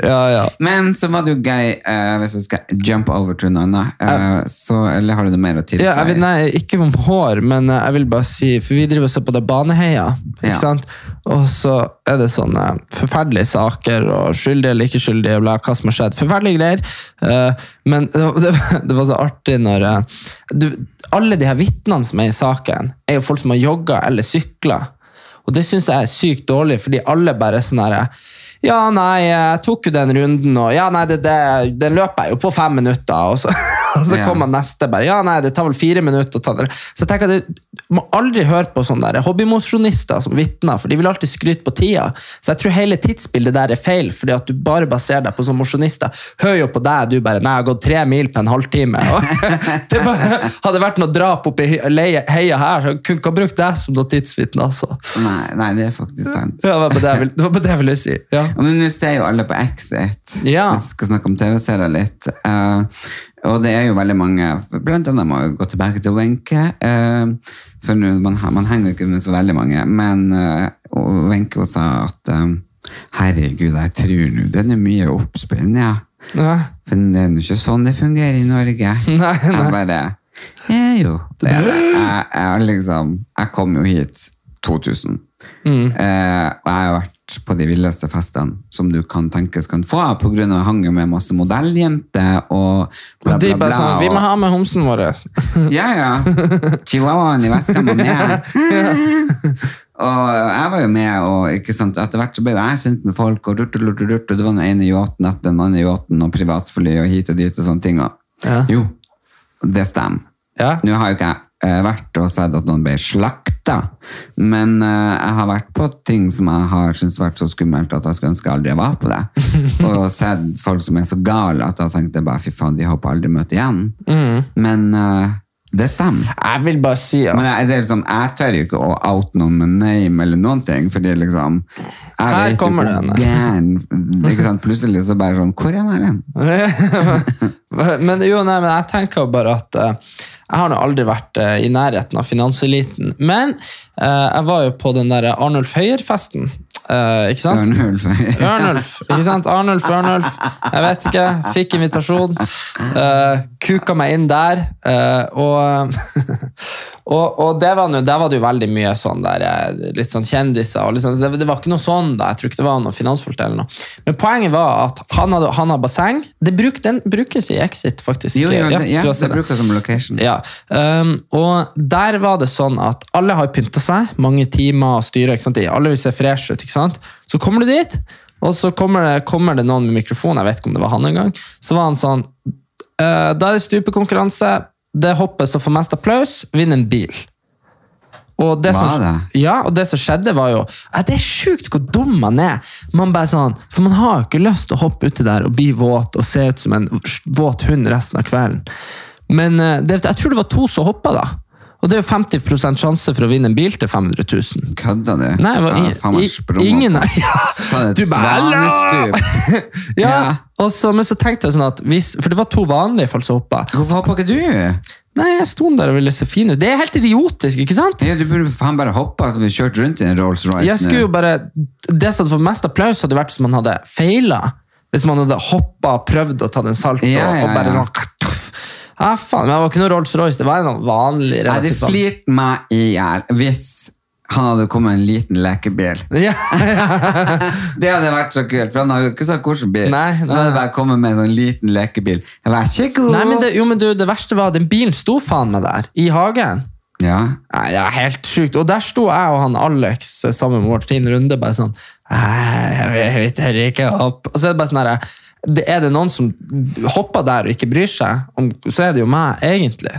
[SPEAKER 2] ja, ja.
[SPEAKER 1] Men så var det jo gøy, eh, hvis jeg skal jump over til noe annet, eh, så, eller har du noe mer å tilføye?
[SPEAKER 2] Ja, jeg vil, nei, ikke om hår, men eh, jeg vil bare si For vi driver og ser på det Baneheia. Ikke
[SPEAKER 1] Ja.
[SPEAKER 2] sant? Og så er det sånne forferdelige saker, og skyldige eller ikke skyldige, bla, hva som har skjedd. Forferdelige greier. Eh, men <laughs> det var, det, var- det var så artig når eh, du, Alle de her vitnene som er i saken, er jo folk som har jogga eller sykla. Og det syns jeg er sykt dårlig, fordi alle bare er sånn herre ja, nei, jeg tok jo den runden, og ja, nei, det, det, den løper jeg jo på fem minutter. Og så, <laughs> og så
[SPEAKER 1] Ja.
[SPEAKER 2] kommer han neste bare, ja nei, det tar vel fire minutter å ta det. Så jeg tenker at det- du må aldri høre på sånne der hobbymosjonister som vitner, for de vil alltid skryte på tida. Så jeg tror hele tidsbildet der er feil, fordi at du bare baserer deg på sånne mosjonister. Hør jo på deg, du bare, nei, jeg har gått tre mil på en halvtime. <laughs> Og det bare, hadde vært noe drap oppe i hy- leie- heia her, så jeg kunne ikke ha brukt deg som noe tidsvitne, altså.
[SPEAKER 1] Nei, nei, det er faktisk sant.
[SPEAKER 2] Ja, det var bare det jeg ville- det var bare det jeg ville si. Ja.
[SPEAKER 1] Ja, Men nå ser jo alle på Exit,
[SPEAKER 2] Ja.
[SPEAKER 1] hvis vi skal snakke om TV-serier litt. Eh, og det er jo veldig mange, blant annet må jeg gå tilbake til Wenche, eh, for nå- man, man henger jo ikke med så veldig mange, men eh, og Wenche også sa at eh, herregud, jeg tror nå, den er mye oppspillende, ja.
[SPEAKER 2] Ja.
[SPEAKER 1] For det er jo ikke sånn det fungerer i Norge.
[SPEAKER 2] <laughs> Nei, nei.
[SPEAKER 1] Jeg bare Ja, jo. Det er det. Jeg, jeg, liksom, jeg kom jo hit 2000.
[SPEAKER 2] Mm.
[SPEAKER 1] Eh, og jeg har vært på de villeste festene som du kan tenkes kan få, på grunn av jeg hang jo med masse modelljenter og bla,
[SPEAKER 2] De
[SPEAKER 1] bla,
[SPEAKER 2] bare
[SPEAKER 1] bla.
[SPEAKER 2] sånn, vi må
[SPEAKER 1] og,
[SPEAKER 2] ha med homsen vår. altså.
[SPEAKER 1] ja, ja. Chihuahuaen i veska må med. Og jeg var jo med, og ikke sant, etter hvert så ble jo jeg kjent med folk, og, rurt, rurt, rurt, og det var den ene yachten etter den andre yachten, og privatfly og hit og dit og sånne ting. Og.
[SPEAKER 2] Ja.
[SPEAKER 1] Jo, det stemmer.
[SPEAKER 2] Ja.
[SPEAKER 1] Nå har jo ikke jeg eh, vært og sett at noen ble slakta, men eh, jeg har vært på ting som jeg har syntes vært så skummelt at jeg skulle ønske jeg aldri var på det.
[SPEAKER 2] <laughs>
[SPEAKER 1] og sett folk som er så gale at jeg tenkte bare fy faen, de håper jeg aldri møter igjen.
[SPEAKER 2] Mm.
[SPEAKER 1] Men eh, det stemmer.
[SPEAKER 2] Jeg vil bare si at
[SPEAKER 1] Men jeg, det er liksom, jeg tør jo ikke å out noen med name eller noen ting, fordi liksom jeg
[SPEAKER 2] Her
[SPEAKER 1] vet jo
[SPEAKER 2] kommer
[SPEAKER 1] hvor
[SPEAKER 2] den.
[SPEAKER 1] Gæren, ikke
[SPEAKER 2] <laughs>
[SPEAKER 1] sant? Plutselig så bare sånn Hvor er <laughs> den?
[SPEAKER 2] men jo, nei, men jeg tenker jo bare at eh, jeg har nå aldri vært eh, i nærheten av finanseliten. Men eh, jeg var jo på den der Arnulf Høyer-festen, eh, ikke sant?
[SPEAKER 1] Ørnulf.
[SPEAKER 2] Ørnulf, ikke sant? Arnulf, Ørnulf. Jeg vet ikke. Fikk invitasjon. eh, kuka meg inn der. eh, og <laughs> og, og det var nå- der var det jo veldig mye sånn der, eh, litt sånn kjendiser. Og litt sånn, det, det var ikke noe sånn da. Jeg tror ikke det var noen finansfolk eller noe. Men poenget var at han hadde, han hadde basseng. Det bruk, den brukes i Exit, faktisk.
[SPEAKER 1] Jo, jo,
[SPEAKER 2] Ja,
[SPEAKER 1] det, ja,
[SPEAKER 2] du har
[SPEAKER 1] det
[SPEAKER 2] sett det.
[SPEAKER 1] bruker jeg som location.
[SPEAKER 2] Ja, ehm, og der var det sånn at alle har pynta seg, mange timer å styre, ikke sant? alle vil se fresh ut, ikke sant? Så kommer du dit, og så kommer det, kommer det noen med mikrofon, jeg vet ikke om det var han engang, så var han sånn, «Eh, da er det stupekonkurranse, det hoppet som får mest applaus, vinner en bil. Og det,
[SPEAKER 1] Var
[SPEAKER 2] som,
[SPEAKER 1] det?
[SPEAKER 2] Ja, og det som skjedde var jo ja, Det er sjukt hvor dum man er. Man bare sånn, for man har jo ikke lyst til å hoppe uti der og bli våt og se ut som en våt hund resten av kvelden. Men eh, det, jeg tror det var to som hoppa, da. Og det er jo 50 sjanse for å vinne en bil til 500 000.
[SPEAKER 1] Kødda du?
[SPEAKER 2] Nei, det var
[SPEAKER 1] Ja,
[SPEAKER 2] i-
[SPEAKER 1] faen meg
[SPEAKER 2] i-
[SPEAKER 1] sprung
[SPEAKER 2] ingen-
[SPEAKER 1] opp.
[SPEAKER 2] Ja,
[SPEAKER 1] Ta det et
[SPEAKER 2] du bare, «Hallo!»
[SPEAKER 1] svanestup.
[SPEAKER 2] <laughs> Ja,
[SPEAKER 1] Ja.
[SPEAKER 2] og så, Men så tenkte jeg sånn at hvis, For det var to vanlige folk som hoppa.
[SPEAKER 1] Hvorfor hoppa ikke du?
[SPEAKER 2] Nei, jeg sto der og ville se fin ut. Det er helt idiotisk, ikke sant?
[SPEAKER 1] Ja, du burde faen bare hoppa så vi kjørte rundt i en Rolls-Royce.
[SPEAKER 2] Jeg skulle jo bare, Det som hadde fått mest applaus, hadde vært hvis man hadde feila. Hvis man hadde hoppa og prøvd å ta den salto.
[SPEAKER 1] Ja, ja,
[SPEAKER 2] og bare
[SPEAKER 1] ja.
[SPEAKER 2] sånn Ah, kartuff. ja, faen, men Det var ikke noe Rolls-Royce, det var en vanlig
[SPEAKER 1] Nei, det
[SPEAKER 2] relativt vanlig-
[SPEAKER 1] flirte meg i hjel hvis han hadde kommet med en liten lekebil.
[SPEAKER 2] <laughs> Ja,
[SPEAKER 1] Det hadde vært så kult, for han har jo ikke sagt hvilken bil.
[SPEAKER 2] Nei,
[SPEAKER 1] så
[SPEAKER 2] nei,
[SPEAKER 1] han hadde bare kommet med en sånn liten lekebil. Vær så god!
[SPEAKER 2] Nei, men det, jo, men du, det verste var at den bilen sto faen meg der, i hagen.
[SPEAKER 1] Ja.
[SPEAKER 2] Nei, det var helt sjukt. Og der sto jeg og han Alex eh, sammen med Martin Runde bare sånn Nei, jeg vet- jeg tør ikke opp. Og så er det bare sånn herre det Er det noen som hopper der og ikke bryr seg, om, så er det jo meg, egentlig.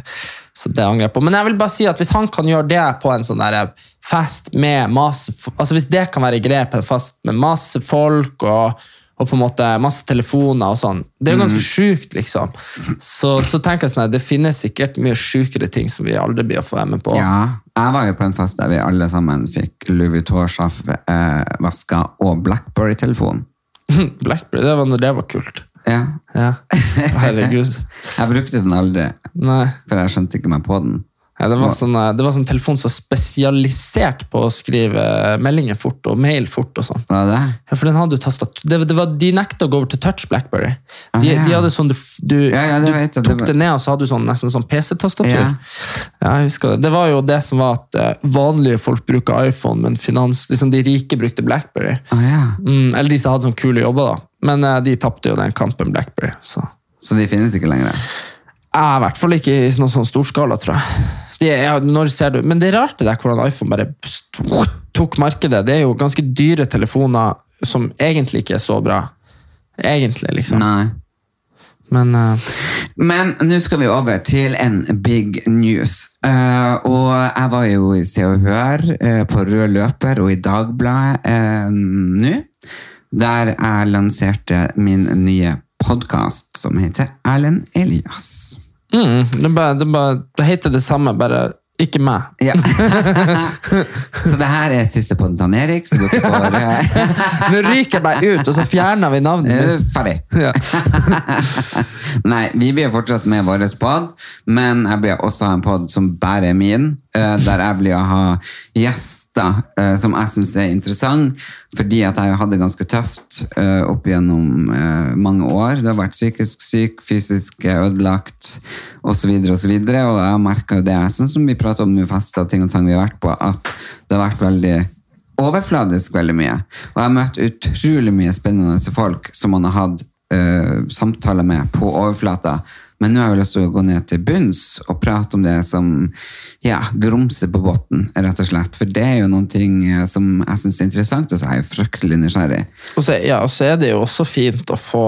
[SPEAKER 2] Så det angrer jeg på. Men jeg vil bare si at hvis han kan gjøre det på en sånn der fest med masse f- Altså Hvis det kan være grep en fest med masse folk og, og på en måte masse telefoner og sånn Det er jo ganske sjukt, liksom. Så, så tenker jeg sånn her, det finnes sikkert mye sjukere ting som vi aldri blir å få være med på.
[SPEAKER 1] ja. Jeg var jo på en fest der vi alle sammen fikk Louis Vuitton-sjafvaska og Blackberry-telefon.
[SPEAKER 2] <laughs> Blackberry, det var når det var kult.
[SPEAKER 1] Ja.
[SPEAKER 2] Ja. Herregud.
[SPEAKER 1] Jeg brukte den aldri,
[SPEAKER 2] <laughs> Nei.
[SPEAKER 1] for jeg skjønte ikke meg på den.
[SPEAKER 2] Ja, det, var sånn, eh, det var sånn telefon som var spesialisert på å skrive meldinger fort og mail fort. og sånn.
[SPEAKER 1] Var det det?
[SPEAKER 2] Ja, for den hadde jo tastat... Det, det var, de nekta å gå over til touch Blackberry. De,
[SPEAKER 1] Ah, ja.
[SPEAKER 2] de hadde sånn, du, f- du,
[SPEAKER 1] Ja, ja, det vet jeg, det
[SPEAKER 2] du tok
[SPEAKER 1] var-
[SPEAKER 2] det ned, og så hadde du sånn, nesten sånn PC-tastatur.
[SPEAKER 1] Ja.
[SPEAKER 2] Ja. jeg husker Det Det var jo det som var at eh, vanlige folk bruker iPhone, men finans, liksom de rike brukte Blackberry.
[SPEAKER 1] Å ja.
[SPEAKER 2] Mm, eller de som hadde sånn kule jobber, da. Men eh, de tapte jo den kampen Blackberry. så...
[SPEAKER 1] Så de finnes ikke lenger?
[SPEAKER 2] Ja, I hvert fall ikke i noen sånn storskala, tror jeg. Det er, ja, når ser du? Men det er rart det der hvordan iPhone bare st- tok markedet. Det er jo ganske dyre telefoner som egentlig ikke er så bra. Egentlig, liksom.
[SPEAKER 1] Nei.
[SPEAKER 2] Men eh,
[SPEAKER 1] Men nå skal vi over til en big news. Eh, og jeg var jo i Se og Hør, eh, på Rød Løper og i Dagbladet eh, nå, der jeg lanserte min nye podkast som heter Erlend Elias.
[SPEAKER 2] mm, det, er bare, det, er bare, det heter det samme, bare ikke meg.
[SPEAKER 1] Ja. <laughs> så det her er siste podden til han Erik, så dere får eh,
[SPEAKER 2] Nå ryker jeg bare ut, og så fjerner vi navnet
[SPEAKER 1] eh,
[SPEAKER 2] mitt.
[SPEAKER 1] Ferdig.
[SPEAKER 2] Ja.
[SPEAKER 1] <laughs> Nei, vi blir fortsatt med vår pod, men jeg blir også ha en pod som bare er min, eh, der jeg blir å ha gjester eh, som jeg synes er interessant, fordi at jeg hadde ganske tøft eh, opp gjennom eh, mange år. Det har vært psykisk syk, fysisk eh, ødelagt, og så videre og så videre, og jeg merker jo det, sånn som vi prater om nå, fester og ting og tang vi har vært på, at det har vært veldig overfladisk veldig mye. Og jeg har møtt utrolig mye spennende folk som man har hatt eh, samtaler med på overflata. Men nå har jeg lyst til å gå ned til bunns og prate om det som ja, grumser på bunnen, rett og slett. For det er jo noen ting eh, som jeg syns er interessant, og så er jeg fryktelig nysgjerrig.
[SPEAKER 2] Og så, ja, og så er det jo også fint å få,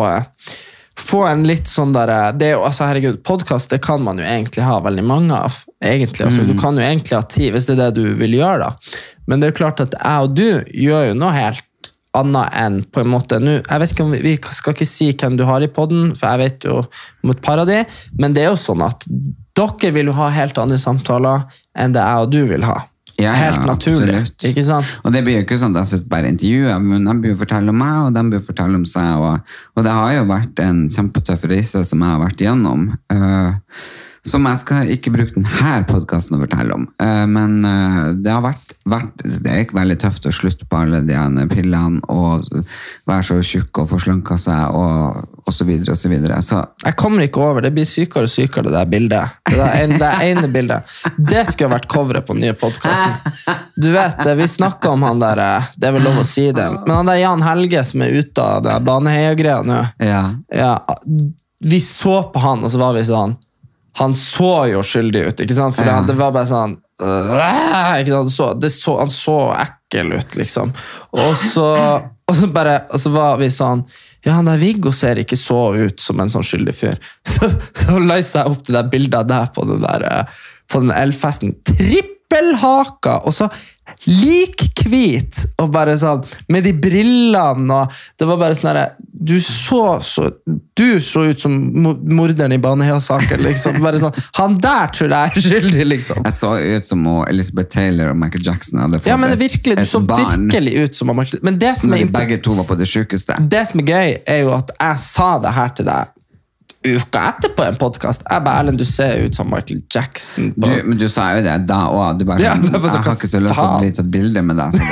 [SPEAKER 2] få en litt sånn der det er jo, altså Herregud, podkast kan man jo egentlig ha veldig mange av. egentlig, altså
[SPEAKER 1] Mm.
[SPEAKER 2] Du kan jo egentlig ha ti, hvis det er det du vil gjøre. da. Men det er jo klart at jeg og du gjør jo noe helt annet enn på en måte nå, jeg vet ikke om vi, vi skal ikke si hvem du har i poden, for jeg vet jo om et par av de, men det er jo sånn at dere vil jo ha helt andre samtaler enn det jeg og du vil ha.
[SPEAKER 1] Ja, ja,
[SPEAKER 2] helt naturlig.
[SPEAKER 1] absolutt.
[SPEAKER 2] Ikke sant?
[SPEAKER 1] Og det blir jo ikke sånn at jeg sitter bare og intervjuer, men de blir jo fortelle om meg, og de blir fortelle om seg. Og, og det har jo vært en kjempetøff reise som jeg har vært igjennom. eh, som jeg skal ikke bruke denne podkasten å fortelle om. Eh, men eh, det har vært, vært Det er ikke veldig tøft å slutte på alle de ene pillene og være så tjukk og forslanke seg og, og så videre og så videre. Så
[SPEAKER 2] Jeg kommer ikke over. Det blir sykere og sykere, det der bildet. Det der ene, det ene bildet. Det skulle vært coveret på den nye podkasten. Du vet, eh, vi snakka om han der eh, Det er vel lov å si det. Men han der Jan Helge som er ute av det Baneheia-greia nå
[SPEAKER 1] ja.
[SPEAKER 2] ja, Vi så på han, og så var vi sånn Han så jo skyldig ut, ikke sant? For det- det var bare sånn øh, ikke sant? Så, det så, Han så ekkel ut, liksom. Og så, og så bare Og så var vi sånn ja, han der Viggo ser ikke så ut som en sånn skyldig fyr. <laughs> Så, så løser jeg opp det der bildet av deg på den der eh, på den elfesten. Trippelhaka! Og så likhvit! Og bare sånn Med de brillene og Det var bare sånn herre du så, så, du så ut som mo- morderen i Baneheia-saken, liksom. Bare sånn, Han der tror jeg er skyldig, liksom.
[SPEAKER 1] Jeg så ut som hun Elizabeth Taylor og Michael Jackson hadde fått
[SPEAKER 2] Ja, men
[SPEAKER 1] et-
[SPEAKER 2] virkelig, Du
[SPEAKER 1] et
[SPEAKER 2] så
[SPEAKER 1] barn.
[SPEAKER 2] virkelig ut som han Martin. Men det som
[SPEAKER 1] Når de
[SPEAKER 2] er impo-
[SPEAKER 1] begge to var på det sjukeste.
[SPEAKER 2] det som er gøy, er jo at jeg sa det her til deg uka etterpå i en podkast. Jeg bare, Erlend, du ser ut som Michael Jackson. På. <laughs>
[SPEAKER 1] Du, men du sa jo det da òg. Du bare
[SPEAKER 2] Ja,
[SPEAKER 1] sånn,
[SPEAKER 2] det var så,
[SPEAKER 1] jeg har
[SPEAKER 2] hva
[SPEAKER 1] ikke så lyst til å
[SPEAKER 2] faen?» <laughs>
[SPEAKER 1] bli tatt bilde altså, med deg. sa du.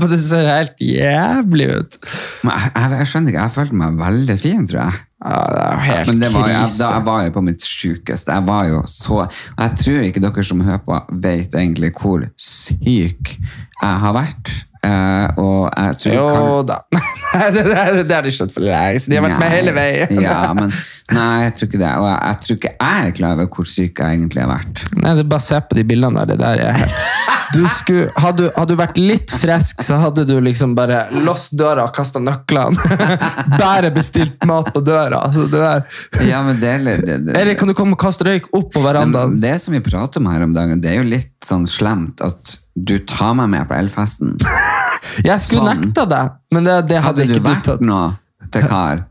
[SPEAKER 2] Men det ser helt jævlig ut.
[SPEAKER 1] Men jeg, jeg, jeg skjønner ikke, jeg følte meg veldig fin, tror jeg.
[SPEAKER 2] Ja, det er jo helt
[SPEAKER 1] Men det var, jeg,
[SPEAKER 2] krise.
[SPEAKER 1] da, jeg var jo på mitt sjukeste. Jeg var jo så og Jeg tror ikke dere som hører på, vet egentlig hvor syk jeg har vært. Eh, og jeg tror kan-
[SPEAKER 2] Jo da. <laughs> Nei, det, det, det har de skjønt for lenge siden. De har vært med
[SPEAKER 1] Nei.
[SPEAKER 2] hele veien.
[SPEAKER 1] <laughs> ja, men nei, jeg tror ikke det. Og jeg, jeg tror ikke jeg er klar over hvor syk jeg egentlig har vært.
[SPEAKER 2] <laughs> <laughs> Nei, det er bare å se på de bildene der. Det der er helt du skulle, hadde, du- hadde du vært litt frisk, så hadde du liksom bare låst døra og kasta nøklene. <laughs> bare bestilt mat på døra. Altså, det der.
[SPEAKER 1] Ja, men det, er litt- det, det,
[SPEAKER 2] Erik, kan du komme og kaste røyk opp på verandaen?
[SPEAKER 1] Men det som vi prater om her om dagen, det er jo litt sånn slemt at du tar meg med på
[SPEAKER 2] <laughs>
[SPEAKER 1] elfesten.
[SPEAKER 2] Jeg skulle
[SPEAKER 1] Sånn.
[SPEAKER 2] nekta deg, men det, det hadde,
[SPEAKER 1] Hadde du
[SPEAKER 2] ikke du
[SPEAKER 1] vært
[SPEAKER 2] tatt.
[SPEAKER 1] nå til
[SPEAKER 2] <laughs>
[SPEAKER 1] kar,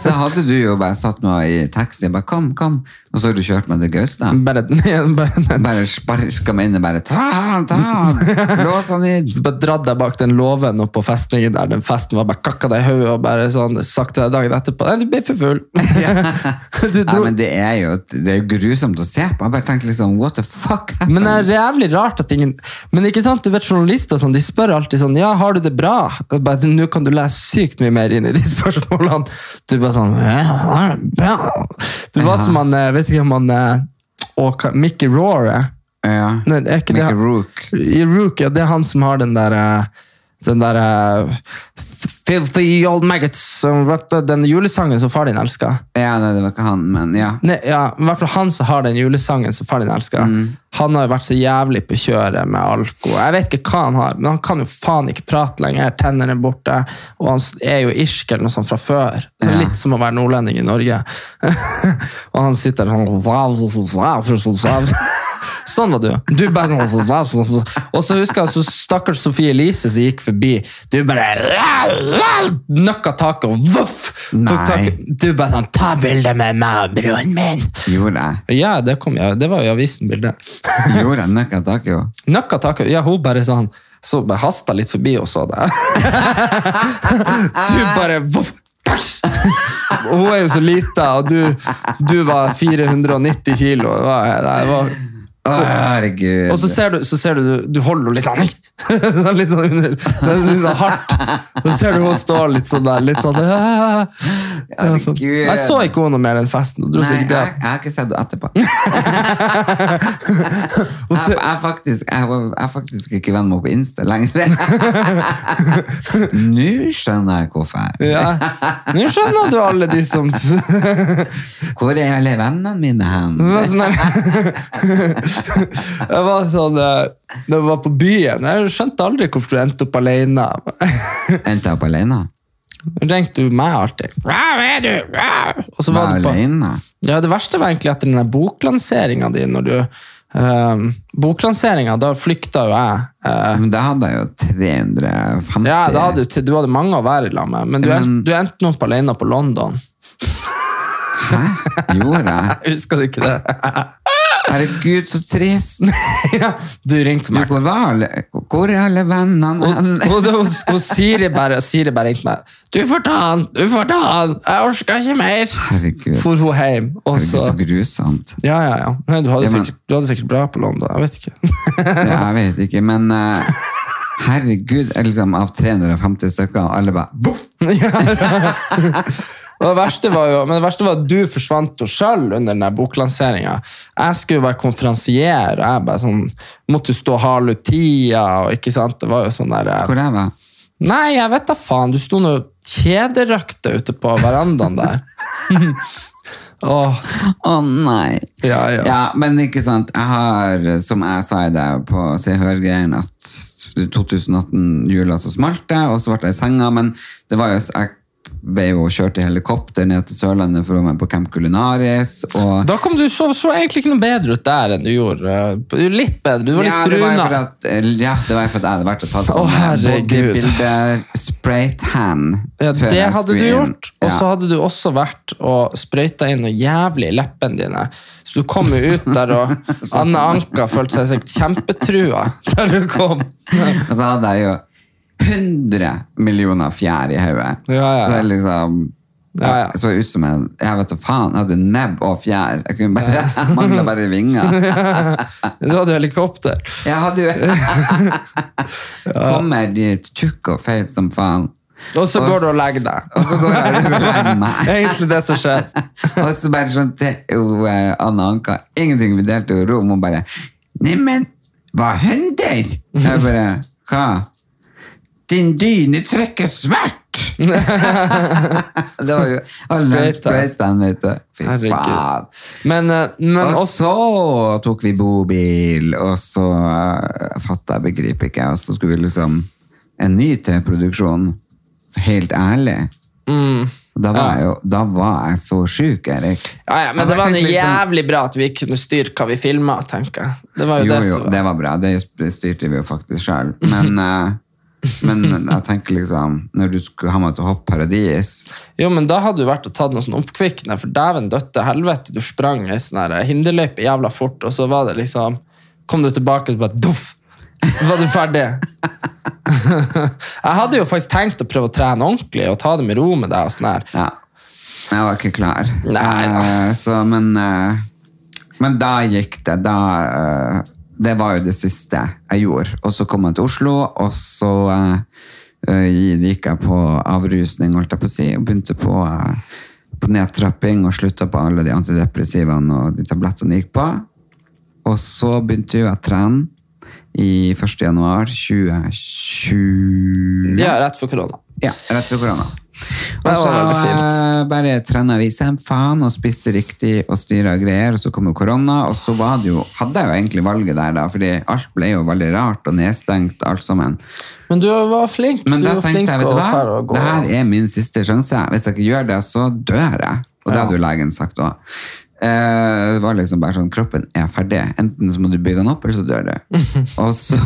[SPEAKER 1] så hadde du jo bare satt nå i taxi og bare kom, kom, og så har du kjørt meg til
[SPEAKER 2] <laughs>
[SPEAKER 1] Gaustad.
[SPEAKER 2] Bare, bare,
[SPEAKER 1] Bare sparka meg inn og bare ta han, ta han, lås han
[SPEAKER 2] <laughs>
[SPEAKER 1] inn.
[SPEAKER 2] så bare dratt deg bak den låven opp på festningen der. Den festen var bare kakka deg i hodet og bare sånn, sagt til deg dagen etterpå Nei, du ble for full.
[SPEAKER 1] <laughs>
[SPEAKER 2] <laughs> du,
[SPEAKER 1] Nei,
[SPEAKER 2] dro-
[SPEAKER 1] men det er, jo, det er jo grusomt å se på. Jeg bare tenker liksom, what the
[SPEAKER 2] <laughs>
[SPEAKER 1] fuck?
[SPEAKER 2] Men det er jævlig rart at ingen Men ikke sant, du vet journalister og sånn, de spør alltid sånn Ja, har du det bra? Og bare, Nå kan du lese sykt mye mer inn i de <laughs> spørsmålene. Du bare sånn Ja, har det bra. Du var som han eh, Vet ikke om han eh, og hva- Mickey Roare.
[SPEAKER 1] Ja.
[SPEAKER 2] Nei, det er ikke det
[SPEAKER 1] Mickey
[SPEAKER 2] han-
[SPEAKER 1] Rook.
[SPEAKER 2] I Rook, ja, det er han som har den der eh, Den der eh, Filthy old maggots. som vet du, Den julesangen som far din elsker.
[SPEAKER 1] Ja, nei, det var ikke han, men ja.
[SPEAKER 2] Nei, ja, i hvert fall han som har den julesangen som faren din elsker.
[SPEAKER 1] Mm.
[SPEAKER 2] Han har jo vært så jævlig på kjøret med alko. Jeg vet ikke hva han har, men han kan jo faen ikke prate lenger. Tennene er borte, og han er jo irsk eller noe sånt fra før. Så
[SPEAKER 1] Ja.
[SPEAKER 2] Litt som å være nordlending i Norge. <laughs> og han sitter sånn <laughs> Sånn var du. Du bare sånn Og så husker jeg så stakkars Sofie Elise som gikk forbi. Du bare Nøkka taket og voff! Tok
[SPEAKER 1] Nei.
[SPEAKER 2] taket. Du bare sånn 'ta bilde med meg og broren min'.
[SPEAKER 1] Gjorde jeg.
[SPEAKER 2] Ja, det, kom, jeg- det var jo i avisen bildet.
[SPEAKER 1] Gjorde jeg nøkka tak i henne?
[SPEAKER 2] Nøkka taket. Ja, hun bare sånn så bare hasta litt forbi og så det. <laughs> du bare voff! Bæsj! Hun er jo så lita, og du, du var 490 kilo. Det var, det var,
[SPEAKER 1] Å, herregud.
[SPEAKER 2] og så ser du, så ser du, du- du holder henne litt sånn, <laughs> sånn litt sånn under, det er litt sånn hardt. Så ser du hun står litt sånn der, litt sånn <laughs> «Åh».
[SPEAKER 1] Herregud.
[SPEAKER 2] Jeg så ikke henne noe mer den festen. og dro
[SPEAKER 1] Nei,
[SPEAKER 2] så
[SPEAKER 1] jeg,
[SPEAKER 2] ikke
[SPEAKER 1] jeg
[SPEAKER 2] det.
[SPEAKER 1] har ikke sett det
[SPEAKER 2] <laughs>
[SPEAKER 1] etterpå. jeg, jeg, er faktisk, jeg, var- jeg er faktisk ikke venn med henne på Insta
[SPEAKER 2] <laughs>
[SPEAKER 1] lenger. Nå skjønner jeg hvorfor.
[SPEAKER 2] Ja. Nå skjønner du alle de som
[SPEAKER 1] Hvor er alle vennene mine hen?
[SPEAKER 2] Det var sånn
[SPEAKER 1] <laughs>
[SPEAKER 2] der- <laughs> Jeg var sånn eh, Når jeg var på byen Jeg skjønte aldri hvorfor du endte opp alene.
[SPEAKER 1] Endte jeg opp alene?
[SPEAKER 2] Ringte du meg alltid? Hvor er du? Hvor?» Og så var
[SPEAKER 1] Var
[SPEAKER 2] det på
[SPEAKER 1] alene?
[SPEAKER 2] Ja, Det verste var egentlig etter den der boklanseringa di. når du... Um, boklanseringa, da flykta jo jeg. eh,
[SPEAKER 1] Men da hadde jeg jo 350.
[SPEAKER 2] ja, da hadde du, du hadde mange å være i lag med, men du, er,
[SPEAKER 1] Men-
[SPEAKER 2] du endte nå opp alene på London.
[SPEAKER 1] Hæ? <laughs> Gjorde jeg?
[SPEAKER 2] Husker du ikke det?
[SPEAKER 1] Herregud, så trist.
[SPEAKER 2] <laughs> ja, du ringte
[SPEAKER 1] Du,
[SPEAKER 2] meg.
[SPEAKER 1] hvor, var alle, hvor er alle vennene
[SPEAKER 2] Og,
[SPEAKER 1] hen?
[SPEAKER 2] og, og, og Siri bare, og Siri bare ringte meg. 'Du får ta han! Du får ta han! Jeg orker ikke mer!'
[SPEAKER 1] Herregud.
[SPEAKER 2] For hun hjem, og
[SPEAKER 1] Herregud,
[SPEAKER 2] så
[SPEAKER 1] så grusomt.
[SPEAKER 2] Ja, ja, ja. Nei, du, hadde
[SPEAKER 1] Ja, men-
[SPEAKER 2] sikkert, du hadde sikkert bra på London. Jeg vet ikke.
[SPEAKER 1] Ja, jeg vet ikke, men eh, herregud, liksom, av 350 stykker, og alle bare voff!
[SPEAKER 2] Og det verste var jo, men det verste var at du forsvant jo sjøl under den boklanseringa. Jeg skulle jo være konferansier, og jeg bare sånn, måtte jo stå og hale ut tida. og ikke sant, det var jo sånn der, eh,
[SPEAKER 1] Hvor jeg var?
[SPEAKER 2] Nei, jeg vet da faen, du sto nå og kjederøkte ute på verandaen
[SPEAKER 1] <laughs>
[SPEAKER 2] der. Åh,
[SPEAKER 1] Å nei!
[SPEAKER 2] ja, ja.
[SPEAKER 1] men ikke sant, jeg har, som jeg sa i det på Se og Hør-greien, at 2018-jula så smalt det, og så ble jeg i senga, men det var jo jeg ble jo kjørt i helikopter ned til Sørlandet for å være med på Camp Culinaris, og
[SPEAKER 2] Da kom du så, så egentlig ikke noe bedre ut der enn du gjorde. eh, Litt bedre, du var litt
[SPEAKER 1] ja, det var jo
[SPEAKER 2] bruna.
[SPEAKER 1] for at, ja, det var jo for at jeg hadde vært og tatt
[SPEAKER 2] Å, herregud.
[SPEAKER 1] bodybuilder spray tan.
[SPEAKER 2] Ja,
[SPEAKER 1] før
[SPEAKER 2] det
[SPEAKER 1] jeg
[SPEAKER 2] hadde du
[SPEAKER 1] skulle inn.
[SPEAKER 2] gjort, og så hadde du også vært og sprøyta inn noe jævlig i leppene dine. Så du kom jo ut der,
[SPEAKER 1] <laughs>
[SPEAKER 2] og Anne Anka følte seg sikkert kjempetrua der du kom.
[SPEAKER 1] <laughs> Og så hadde jeg jo 100 millioner fjær i hodet.
[SPEAKER 2] Ja, ja, ja.
[SPEAKER 1] Så jeg liksom
[SPEAKER 2] Ja, ja.
[SPEAKER 1] Jeg så ut som en Jeg vet da faen, jeg hadde nebb og fjær. Jeg kunne bare, <laughs> jeg mangla bare vinger.
[SPEAKER 2] <laughs> Du hadde helikopter.
[SPEAKER 1] Jeg hadde jo <laughs> Kommer dit tjukk og feit som faen.
[SPEAKER 2] Og så går du og legger deg.
[SPEAKER 1] Og så går jeg og legger
[SPEAKER 2] <laughs> Det er
[SPEAKER 1] meg.
[SPEAKER 2] egentlig det som skjer.
[SPEAKER 1] <laughs> Og så bare sånn til jo, eh, Anna Anka Ingenting vi delte jo rom, og bare Neimen, hva hender? Jeg bare Hva? Din dyne trekker svart! <laughs> det var jo alle
[SPEAKER 2] Sprøyta.
[SPEAKER 1] sprøytene, vet du. Fy faen.
[SPEAKER 2] Herregud. Men, eh, men
[SPEAKER 1] og
[SPEAKER 2] også
[SPEAKER 1] så tok vi bobil, og så uh, fatta jeg, begriper ikke, jeg, og så skulle vi liksom en ny TV-produksjon, helt ærlig.
[SPEAKER 2] Mm.
[SPEAKER 1] Da, var jeg jo, da var jeg så sjuk, Erik.
[SPEAKER 2] ja, ja,
[SPEAKER 1] Jeg
[SPEAKER 2] Men det var
[SPEAKER 1] tenkte
[SPEAKER 2] noe
[SPEAKER 1] liksom-
[SPEAKER 2] jævlig bra at vi kunne styre hva vi filma, tenker jeg. Det var jo,
[SPEAKER 1] Jo,
[SPEAKER 2] det
[SPEAKER 1] jo,
[SPEAKER 2] som
[SPEAKER 1] det var bra. Det sp- styrte vi jo faktisk sjøl. Men, eh, men jeg tenker liksom, når du skulle ha meg til å hoppe paradis
[SPEAKER 2] Jo, men da hadde du vært og tatt noe sånn oppkvikkende, for dæven døtte helvete, du sprang ei sånn her hinderløype jævla fort, og så var det liksom Kom du tilbake og så bare doff! Var du ferdig? <laughs> jeg hadde jo faktisk tenkt å prøve å trene ordentlig og ta det med ro med deg og sånn her.
[SPEAKER 1] Ja. Jeg var ikke klar.
[SPEAKER 2] Nei,
[SPEAKER 1] Eh, så, men, eh, men da gikk det. Da, eh, det var jo det siste jeg gjorde. Og så kom jeg til Oslo, og så eh, eh, gikk jeg på avrusning, holdt jeg på å si, og begynte på, eh, på nedtrapping og slutta på alle de antidepressivene og de tablettene jeg gikk på. Og så begynte jo jeg å trene i 1. januar 2020.
[SPEAKER 2] Ja, rett før korona.
[SPEAKER 1] Ja, rett før korona.
[SPEAKER 2] Det
[SPEAKER 1] Og
[SPEAKER 2] var
[SPEAKER 1] så
[SPEAKER 2] veldig fint.
[SPEAKER 1] eh, bare trena vise en faen og spiste riktig og styra greier, og så kom jo korona, og så var det jo, hadde jeg jo egentlig valget der, da, fordi alt ble jo veldig rart og nedstengt, alt sammen.
[SPEAKER 2] Men du var flink.
[SPEAKER 1] Men
[SPEAKER 2] du
[SPEAKER 1] da
[SPEAKER 2] var
[SPEAKER 1] tenkte jeg, vet du
[SPEAKER 2] og
[SPEAKER 1] hva,
[SPEAKER 2] fer og gå.
[SPEAKER 1] det her er min siste sjanse. Hvis jeg ikke gjør det, så dør jeg. Og det hadde jo legen sagt òg. det var liksom bare sånn, kroppen er ferdig. Enten så må du bygge den opp, eller så dør
[SPEAKER 2] <laughs>
[SPEAKER 1] du. Og så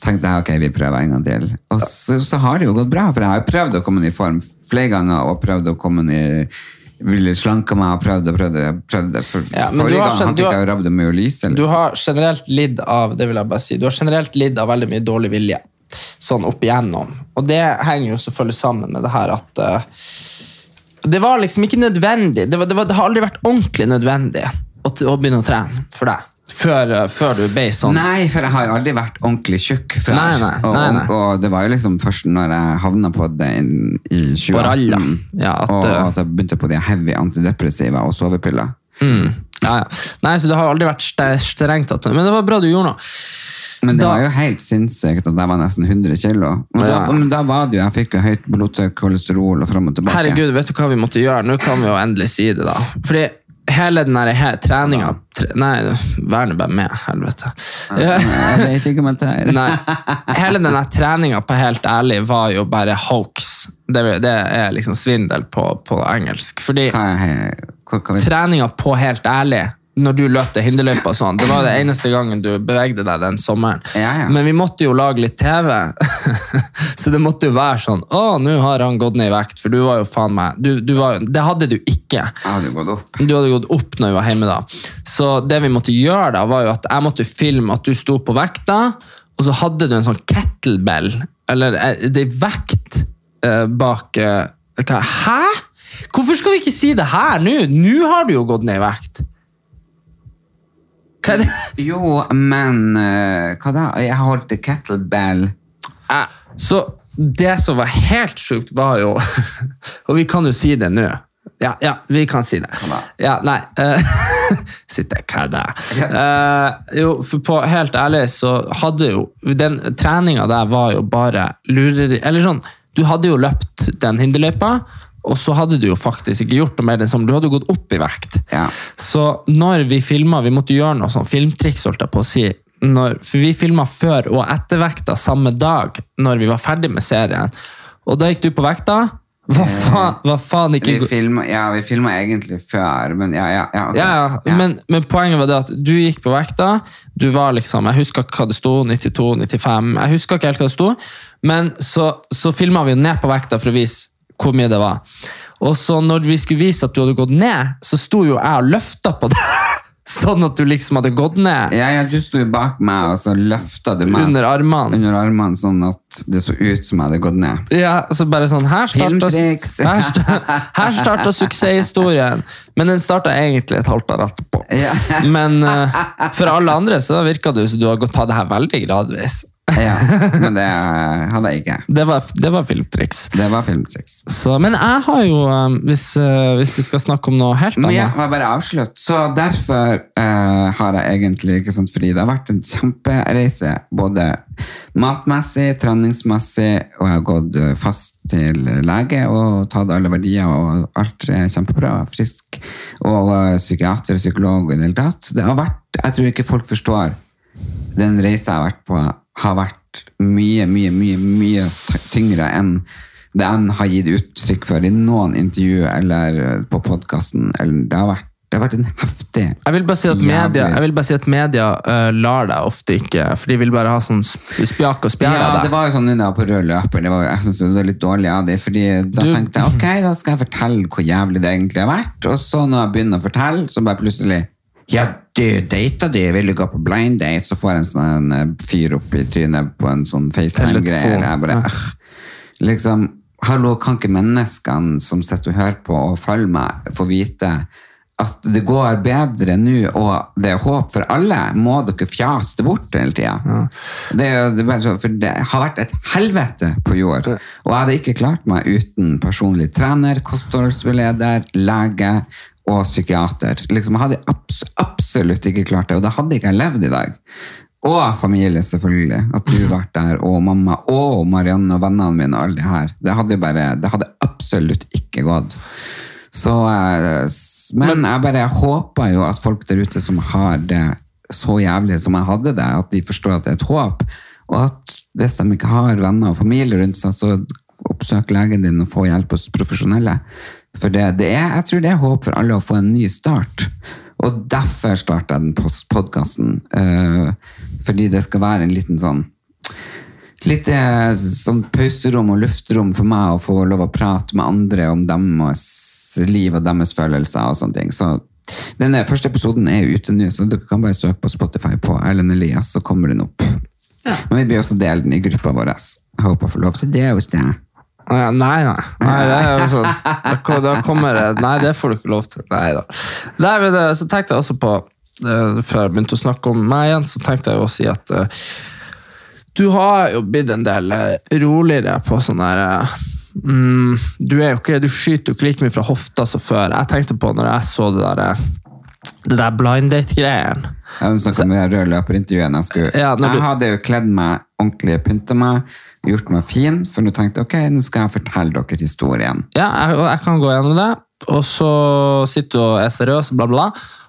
[SPEAKER 1] tenkte jeg, ok, vi prøver en gang til. Og så, så har det jo gått bra, for jeg har jo prøvd å komme i form flere ganger, og prøvd å komme i ville slanke meg og prøvde og prøvde. og prøvde. For,
[SPEAKER 2] Ja, men du
[SPEAKER 1] forrige
[SPEAKER 2] har
[SPEAKER 1] gang
[SPEAKER 2] skjønt-
[SPEAKER 1] hadde
[SPEAKER 2] du
[SPEAKER 1] ikke
[SPEAKER 2] har-
[SPEAKER 1] jeg rabdomyolyse.
[SPEAKER 2] Du har generelt lidd av det vil jeg bare si, du har generelt lidd av veldig mye dårlig vilje. Sånn opp igjennom. Og det henger jo selvfølgelig sammen med det her at eh, Det var liksom ikke nødvendig. Det, var, det, var, det har aldri vært ordentlig nødvendig å, t- å begynne å trene for deg. Før, eh, før du ble sånn.
[SPEAKER 1] Nei, for jeg har jo aldri vært ordentlig tjukk før.
[SPEAKER 2] Nei, nei,
[SPEAKER 1] og,
[SPEAKER 2] nei, nei.
[SPEAKER 1] og det var jo liksom først når jeg havna på det inn i 2018,
[SPEAKER 2] På ralla.
[SPEAKER 1] Mm.
[SPEAKER 2] Ja, at,
[SPEAKER 1] og,
[SPEAKER 2] eh,
[SPEAKER 1] og at jeg begynte på de heavy antidepressiva og sovepiller.
[SPEAKER 2] Mm. Ja, ja. Nei, så det har aldri vært ste- strengt tatt. Men det var bra du gjorde noe.
[SPEAKER 1] Men det
[SPEAKER 2] Da-
[SPEAKER 1] var jo helt sinnssykt at jeg var nesten 100 kilo. Men da,
[SPEAKER 2] Ja.
[SPEAKER 1] men da var det jo, jeg fikk jo høyt blodtrykk, kolesterol og fram og tilbake.
[SPEAKER 2] Herregud, vet du hva vi måtte gjøre? Nå kan vi jo endelig si det, da. Fordi hele den der he- treninga tre, Nei, vær nå bare med, helvete. Ja. <laughs>
[SPEAKER 1] Jeg vet ikke om jeg tar.
[SPEAKER 2] Nei. Hele den der treninga, på helt ærlig, var jo bare hoax. Det, vil- det er liksom svindel på, på engelsk. Fordi
[SPEAKER 1] Hva er- hva- hva-
[SPEAKER 2] treninga på helt ærlig når du løp det hinderløypa og sånn. Det var det eneste gangen du bevegde deg den sommeren.
[SPEAKER 1] Ja, ja.
[SPEAKER 2] Men vi måtte jo lage litt TV, <laughs> så det måtte jo være sånn Å, nå har han gått ned i vekt, for du var jo faen meg du, du var, jo- Det hadde du ikke.
[SPEAKER 1] Jeg hadde jo gått opp.
[SPEAKER 2] Du hadde gått opp når vi var hjemme da. Så det vi måtte gjøre da, var jo at jeg måtte filme at du sto på vekta, og så hadde du en sånn kettlebell, eller eh, det er vekt eh, bak eh, hva- Hæ?! Hvorfor skal vi ikke si det her nå? Nå har du jo gått ned i vekt. Hva er det?
[SPEAKER 1] Jo, men eh, hva da? Jeg holdt kettlebell.
[SPEAKER 2] Eh, Så det som var helt sjukt, var jo <laughs> Og vi kan jo si det nå. Ja, ja, vi kan si det. Ja, nei eh, <laughs> Sitter jeg her, da? Eh, jo, for på, helt ærlig så hadde jo Den treninga der var jo bare lureri. Eller sånn, du hadde jo løpt den hinderløypa, og så hadde du jo faktisk ikke gjort noe mer. enn som- Du hadde jo gått opp i vekt.
[SPEAKER 1] Ja.
[SPEAKER 2] Så når vi filma Vi måtte gjøre noe sånn filmtriks, holdt jeg på å si. Når, for vi filma før og etter vekta samme dag, når vi var ferdig med serien. Og da gikk du på vekta. Hva faen, hva faen ikke
[SPEAKER 1] Vi
[SPEAKER 2] go-
[SPEAKER 1] filma ja, vi filma egentlig før, men ja, ja. ja, ok.
[SPEAKER 2] ja, ja. Men, men poenget var det at du gikk på vekta. Du var liksom, Jeg husker ikke hva det sto. 92-95. Jeg husker ikke helt hva det sto. Men så, så filma vi jo ned på vekta for å vise hvor mye det var. Og så når vi skulle vise at du hadde gått ned, så sto jo jeg og løfta på deg. <laughs> Sånn at du liksom hadde gått ned
[SPEAKER 1] Ja, ja, du sto jo bak meg, og så løfta du meg
[SPEAKER 2] under armene.
[SPEAKER 1] under armene, sånn at det så ut som jeg hadde gått ned.
[SPEAKER 2] Ja, og så bare sånn Her starta,
[SPEAKER 1] Filmtriks.
[SPEAKER 2] <laughs> her sta- her starta suksesshistorien. Men den starta egentlig et halvt år etterpå.
[SPEAKER 1] Ja.
[SPEAKER 2] <laughs> Men eh, for alle andre så virka det jo som du har gått- tatt det her veldig gradvis. <laughs>
[SPEAKER 1] Ja, men det eh, hadde jeg ikke.
[SPEAKER 2] Det var, det var filmtriks.
[SPEAKER 1] Det var filmtriks.
[SPEAKER 2] Så, men jeg har jo, eh, hvis, eh, hvis vi skal snakke om noe helt
[SPEAKER 1] Men
[SPEAKER 2] annet
[SPEAKER 1] ja, må jeg bare avslutte. Så derfor eh, har jeg egentlig ikke sant, fordi det har vært en kjempereise, både matmessig, treningsmessig, og jeg har gått eh, fast til lege og tatt alle verdier, og alt er kjempebra, jeg er frisk, og eh, psykiater og psykolog og i det hele tatt. Det har vært, jeg tror ikke folk forstår den reisen jeg har vært på, har vært mye, mye, mye, mye tyngre enn det jeg har gitt uttrykk for i noen intervju eller eh, på podcasten. Eller det, har vært, det har vært en heftig...
[SPEAKER 2] Jeg vil bare si at
[SPEAKER 1] Jævlig.
[SPEAKER 2] media, jeg vil bare si at media eh, lar deg ofte ikke, for de vil bare ha sånn sp- spjak og spjær
[SPEAKER 1] Ja,
[SPEAKER 2] av
[SPEAKER 1] det
[SPEAKER 2] deg.
[SPEAKER 1] var jo sånn når jeg var på rød løper, det var, jeg synes det var litt dårlig av det, fordi da
[SPEAKER 2] Du-
[SPEAKER 1] tenkte jeg, ok, da skal jeg fortelle hvor jævlig det egentlig har vært, og så når jeg begynner å fortelle, så bare plutselig, ja, du, data du, vil du gå på blind date, så får jeg en sånn en, eh, fyr opp i trynet på en sånn FaceTime-greie,
[SPEAKER 2] Telefon,
[SPEAKER 1] og jeg bare,
[SPEAKER 2] ja.
[SPEAKER 1] «Åh, liksom, hallo, kan ikke menneskene som sitter og hører på og følger meg, få vite at det går bedre nå, og det er håp for alle, må dere fjas det bort hele tiden. Det, er jo- det, er bare så, for det har vært et helvete på jord, og jeg hadde ikke klart meg uten personlig trener, kostholdsveileder, lege og psykiater. Liksom, jeg hadde abs absolutt ikke klart det, og da hadde ikke jeg levd i dag. Og familie, selvfølgelig. At du har vært der, og mamma, og Marianne og vennene mine, og alle de her. Det hadde, jo bare, det hadde absolutt ikke gått. Så, eh, s- men jeg bare håper jo at folk der ute som har det så jævlig som jeg hadde det, at de forstår at det er et håp. Og at hvis de ikke har venner og familie rundt seg, så oppsøk legen din og få hjelp hos profesjonelle. For det, det er, jeg tror det er håp for alle å få en ny start. Og derfor startet jeg den pos- podcasten. eh, fordi det skal være en liten sånn Litt eh, sånn pauserom og luftrom for meg å få lov å prate med andre om deres liv og deres følelser og sånne ting. Så denne første episoden er jo ute nå, så dere kan bare søke på Spotify på Erlend Elias, så kommer den opp. Men vi blir også delt den i gruppa vår. Jeg håper jeg får lov til det hos deg.
[SPEAKER 2] Å ja, Nei, nei. nei det er jo sånn. da, ko- da kommer det Nei, det får du ikke lov til. Nei da. Nei, men eh, så tenkte jeg også på, eh, før jeg begynte å snakke om meg igjen, så tenkte jeg jo å si at eh, du har jo blitt en del eh, roligere på sånn der eh, mm, du, er jo ikke, du skyter jo ikke like mye fra hofta som før. Jeg tenkte på når jeg så det der, eh, det der blind date-greien.
[SPEAKER 1] Jeg hadde snakket om det røde løperintervjuene jeg skulle.
[SPEAKER 2] Ja, når du-
[SPEAKER 1] Jeg hadde jo kledd meg ordentlig, pyntet meg, gjort meg fin, for nå tenkte jeg, ok, nå skal jeg fortelle dere historien.
[SPEAKER 2] Ja, jeg, og jeg kan gå gjennom det. Og så sitter du og er seriøs, bla, bla.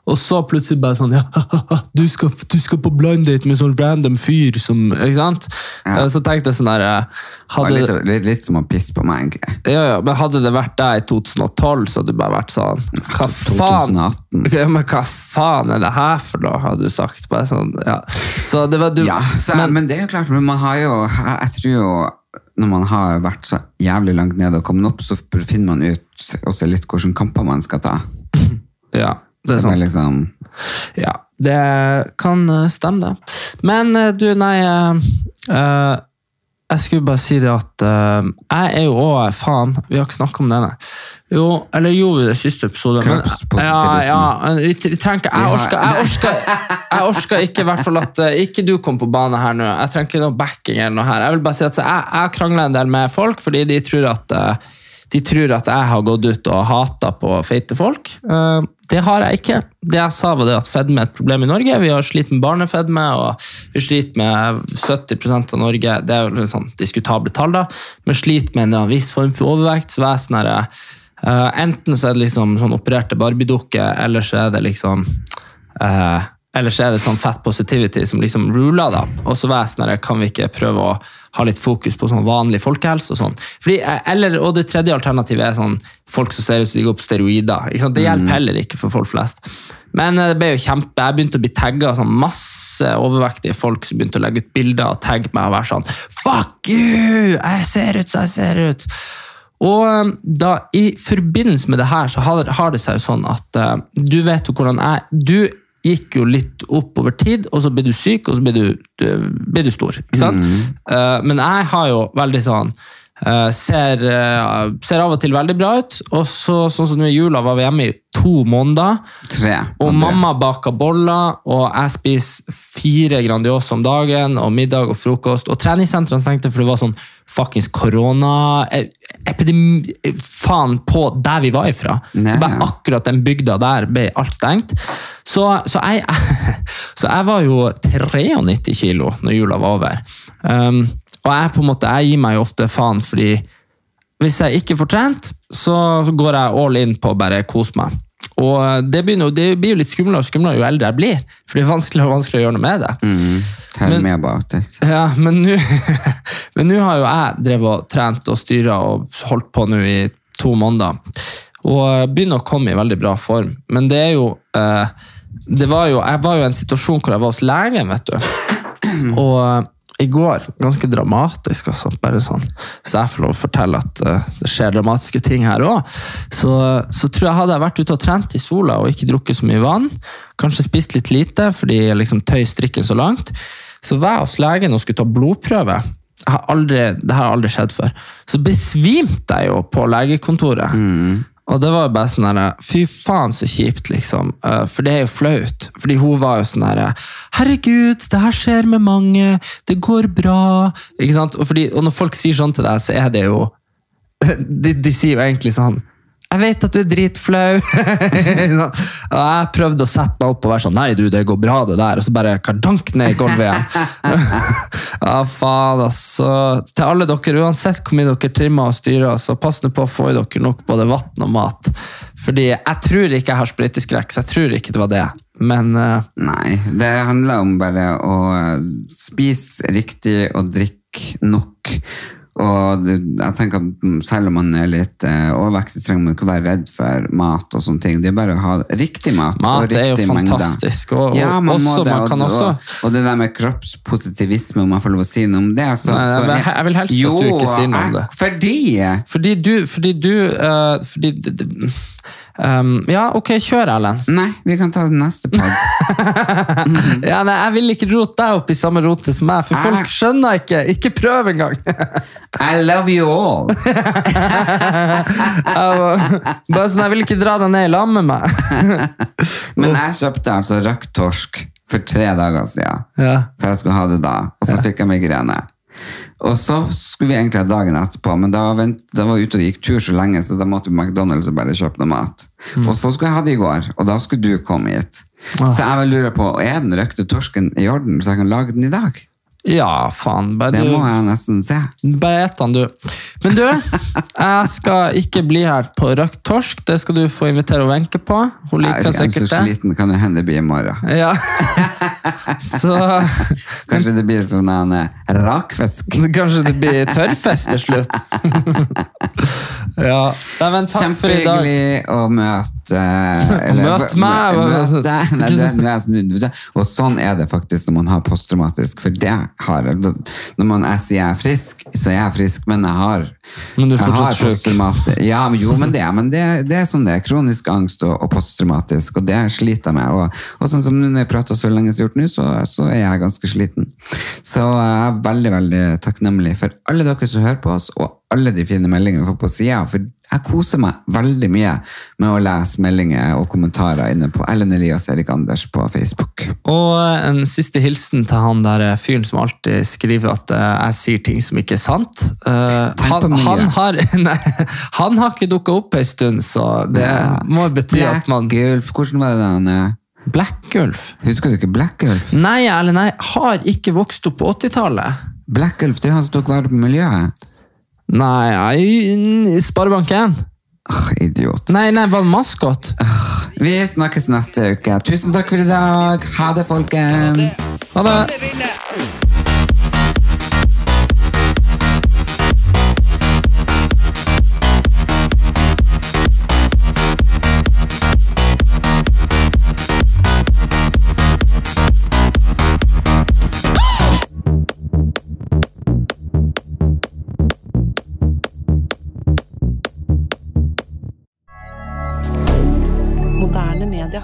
[SPEAKER 2] Og så plutselig bare sånn ja, <laughs> du, skal, du skal på blind date med sånn random fyr som Ikke sant?
[SPEAKER 1] Ja.
[SPEAKER 2] Eh, Så tenkte jeg sånn der eh,
[SPEAKER 1] Det var
[SPEAKER 2] hadde,
[SPEAKER 1] litt, litt, litt som å pisse på meg, egentlig.
[SPEAKER 2] ja, ja, men hadde det vært deg i 2012, så hadde du bare vært sånn Hva faen?
[SPEAKER 1] 2018.
[SPEAKER 2] Ok, men hva faen er det her for noe, hadde du sagt. Bare sånn, ja. Så det var du
[SPEAKER 1] Ja, så, men, det er jo klart, men man har jo, jeg, jeg tror jo, når man har vært så jævlig langt ned og kommet opp, så finner man ut også litt hvilke kamper man skal ta.
[SPEAKER 2] ja, det er sånn.
[SPEAKER 1] Det
[SPEAKER 2] sant.
[SPEAKER 1] er liksom,
[SPEAKER 2] Ja, det kan eh, stemme det. Men eh, du, nei eh, eh, Jeg skulle bare si det at eh, jeg er jo òg Faen, vi har ikke snakka om det, nei. Jo, eller jo, i det siste episode. men-
[SPEAKER 1] Kroppspositivisme.
[SPEAKER 2] Ja, ja, men vi, vi trenger ikke Jeg
[SPEAKER 1] Vi har-
[SPEAKER 2] orsker, jeg orsker, jeg orsker ikke i hvert fall at eh, ikke du kom på bane her nå. Jeg trenger ikke noe backing eller noe her. Jeg vil bare si at så jeg, jeg krangler en del med folk fordi de tror at eh, de tror at jeg har gått ut og hata på feite folk. Eh, Det har jeg ikke. Det jeg sa var det at fedme er et problem i Norge. Vi har slitt med barnefedme, og vi sliter med 70 av Norge. Det er jo litt sånn diskutable tall, da. Men sliter med en eller annen viss form for overvekt. så jeg er sånn herre, eh, enten så er det liksom sånn opererte Barbie-dukke, eller så er det liksom Eh, Ellers er det sånn fat positivity som liksom ruler, da. Og så var jeg sånn her, kan vi ikke prøve å ha litt fokus på sånn vanlig folkehelse og sånn. Fordi, eh, eller, og det tredje alternativet er sånn folk som ser ut som de går på steroider. Ikke sant? Det hjelper heller ikke for folk flest. Men eh, det ble jo kjempe, jeg begynte å bli tagga sånn masse overvektige folk som begynte å legge ut bilder og tagge meg og være sånn Fuck you! Jeg ser ut som jeg ser ut! Og eh, da, uh, i forbindelse med det her, så har, har det seg jo sånn at eh, du vet jo hvordan jeg Du gikk jo litt opp over tid, og så ble du syk, og så ble du, du, ble du stor. Ikke sant? Eh, men jeg har jo veldig sånn eh, ser, eh, ser av og til veldig bra ut, og så, sånn som nå i jula var vi hjemme i to måneder.
[SPEAKER 1] Tre.
[SPEAKER 2] Og
[SPEAKER 1] André.
[SPEAKER 2] mamma baker boller, og jeg spiser fire Grandiosa om dagen, og middag og frokost. Og treningssentrene stengte, for det var sånn fuckings korona eh, epidemi, eh, Faen på der vi var ifra.
[SPEAKER 1] Nei.
[SPEAKER 2] Så bare akkurat den bygda der ble alt stengt. Så, så, jeg, <laughs> så jeg var jo 93 kilo når jula var over. Um, og jeg på en måte, jeg gir meg jo ofte faen fordi hvis jeg ikke får trent, så, så går jeg all in på å bare kose meg. Og det, begynner, jo- det blir jo litt skumlere og skumlere jo eldre jeg blir, for det er vanskeligere og vanskeligere å gjøre noe med det.
[SPEAKER 1] Mm. Tell
[SPEAKER 2] Men-
[SPEAKER 1] me about it.
[SPEAKER 2] Ja, men nå <laughs> men nå har jo jeg drevet og trent og styra og holdt på nå i to måneder. Og begynner å komme i veldig bra form. Men det er jo, eh, det var jo Jeg var jo i en situasjon hvor jeg var hos legen, vet du. Og eh, i går, ganske dramatisk, altså, bare sånn, hvis jeg får lov å fortelle at eh, det skjer dramatiske ting her òg, så, så tror jeg hadde jeg vært ute og trent i sola og ikke drukket så mye vann, kanskje spist litt lite fordi jeg liksom tøy strikken så langt, så var jeg hos legen og skulle ta blodprøve. Jeg har aldri, det her har aldri skjedd før. Så besvimte jeg jo på legekontoret. Og det var jo bare sånn her, fy faen så kjipt, liksom. Eh, For det er jo flaut. Fordi hun var jo sånn her, herregud, det her skjer med mange, det går bra. Ikke sant? Og, fordi, og når folk sier sånn til deg, så er det jo <laughs> de, de sier jo egentlig sånn jeg vet at du er dritflau. <laughs> Sånn. og jeg prøvde å sette meg opp og være sånn Nei, du, det går bra, det der. Og så bare kardank ned i gulvet igjen. ja, faen, altså. Til alle dere, uansett hvor mye dere trimmer og styrer, så pass nå på å få i dere nok både vann og mat. Fordi jeg tror ikke jeg har sprøyteskrekk, så jeg tror ikke det var det. Men eh,
[SPEAKER 1] Nei, det handler om bare å eh, spise riktig og drikke nok. Og du, jeg tenker at mm, selv om man er litt eh, overvektig, så trenger man ikke være redd for mat og sånne ting. Det er bare å ha riktig mat,
[SPEAKER 2] Mat
[SPEAKER 1] og
[SPEAKER 2] er jo
[SPEAKER 1] riktig mengde.
[SPEAKER 2] fantastisk, og- og
[SPEAKER 1] man må
[SPEAKER 2] også- man kan
[SPEAKER 1] og,
[SPEAKER 2] også-
[SPEAKER 1] og, og det der med kroppspositivisme, om jeg får lov å si noe om det, så,
[SPEAKER 2] Nei, jeg
[SPEAKER 1] så
[SPEAKER 2] vil- jeg vil helst at du ikke sier noe om
[SPEAKER 1] jeg-
[SPEAKER 2] det.
[SPEAKER 1] Fordi
[SPEAKER 2] fordi du, fordi du eh, fordi, d- d- um, Ja, ok, kjør, Erlend.
[SPEAKER 1] Nei, vi kan ta det neste
[SPEAKER 2] <laughs>
[SPEAKER 1] podd. Mm.
[SPEAKER 2] Ja, nei, jeg vil ikke rote deg opp i samme rote som meg, for
[SPEAKER 1] Nei.
[SPEAKER 2] folk skjønner ikke. Ikke prøv engang! <laughs>
[SPEAKER 1] I love you all!
[SPEAKER 2] Jeg var- Bare sånn, jeg vil ikke dra deg ned i lag med meg.
[SPEAKER 1] Men jeg kjøpte altså røkt torsk for tre dager siden.
[SPEAKER 2] Ja.
[SPEAKER 1] For jeg skulle ha det da. Og så fikk jeg migrene. Og så skulle vi egentlig ha dagen etterpå, men da, vent, da var jeg ute og gikk tur så lenge, så da måtte vi på McDonald's og bare kjøpe noe mat.
[SPEAKER 2] Mm.
[SPEAKER 1] Og så skulle jeg ha det i går, og da skulle du komme hit.
[SPEAKER 2] Ah.
[SPEAKER 1] Så jeg vil lure på, er den røkte torsken i orden, så jeg kan lage den i dag?
[SPEAKER 2] ja, faen. Bare
[SPEAKER 1] Det
[SPEAKER 2] du,
[SPEAKER 1] må jeg nesten se.
[SPEAKER 2] bare et han, du. Men du, jeg skal ikke bli her på røkt torsk. Det skal du få invitere og Wenche på. Hun
[SPEAKER 1] Jeg
[SPEAKER 2] liker
[SPEAKER 1] er så
[SPEAKER 2] sikkert det.
[SPEAKER 1] sliten, kan jo hende det blir i morgen.
[SPEAKER 2] Ja. Så <laughs>
[SPEAKER 1] Kanskje det blir sånn en eh, rakfisk.
[SPEAKER 2] kanskje det blir tørrfest til slutt. <laughs> ja. Nei, men takk for i dag.
[SPEAKER 1] Kjempehyggelig å møte eh,
[SPEAKER 2] <laughs> møte meg, hva-
[SPEAKER 1] møte, nei, det- møte- Og sånn er det faktisk når man har posttraumatisk, for det har jeg. Når man, jeg sier jeg er frisk, så er jeg frisk, men jeg har
[SPEAKER 2] Men du er
[SPEAKER 1] jeg
[SPEAKER 2] fortsatt
[SPEAKER 1] har
[SPEAKER 2] syk.
[SPEAKER 1] posttraumatisk- Ja, men jo, men det, men det, det er sånn det er. Kronisk angst og, og posttraumatisk, og det sliter jeg med. Og, og sånn som når jeg prater så lenge som jeg har gjort nå, så, så er jeg ganske sliten. Så jeg er veldig, veldig takknemlig for alle dere som hører på oss, og alle de fine meldingene vi får på sida. For jeg koser meg veldig mye med å lese meldinger og kommentarer inne på Ellen Elias Erik Anders på Facebook.
[SPEAKER 2] Og eh, en siste hilsen til han der eh, fyren som alltid skriver at eh, jeg sier ting som ikke er sant. Eh,
[SPEAKER 1] Tenk på
[SPEAKER 2] han,
[SPEAKER 1] mye.
[SPEAKER 2] han, har, <laughs> nei, han har ikke dukka opp ei stund, så det må bety at man
[SPEAKER 1] Black Gulf, hvordan var det den eh,
[SPEAKER 2] Black Gulf?
[SPEAKER 1] Husker du ikke Black Gulf?
[SPEAKER 2] Nei, Erlend, jeg har ikke vokst opp på 80-tallet.
[SPEAKER 1] Black Gulf, det er han som tok vare på miljøet.
[SPEAKER 2] Nei, jeg- Sparebanken?
[SPEAKER 1] Åh, idiot.
[SPEAKER 2] Nei, nei, var det Maskot?
[SPEAKER 1] Vi snakkes neste uke. Tusen takk for i dag. Ha det, folkens.
[SPEAKER 2] Ha det!
[SPEAKER 3] Moderne media.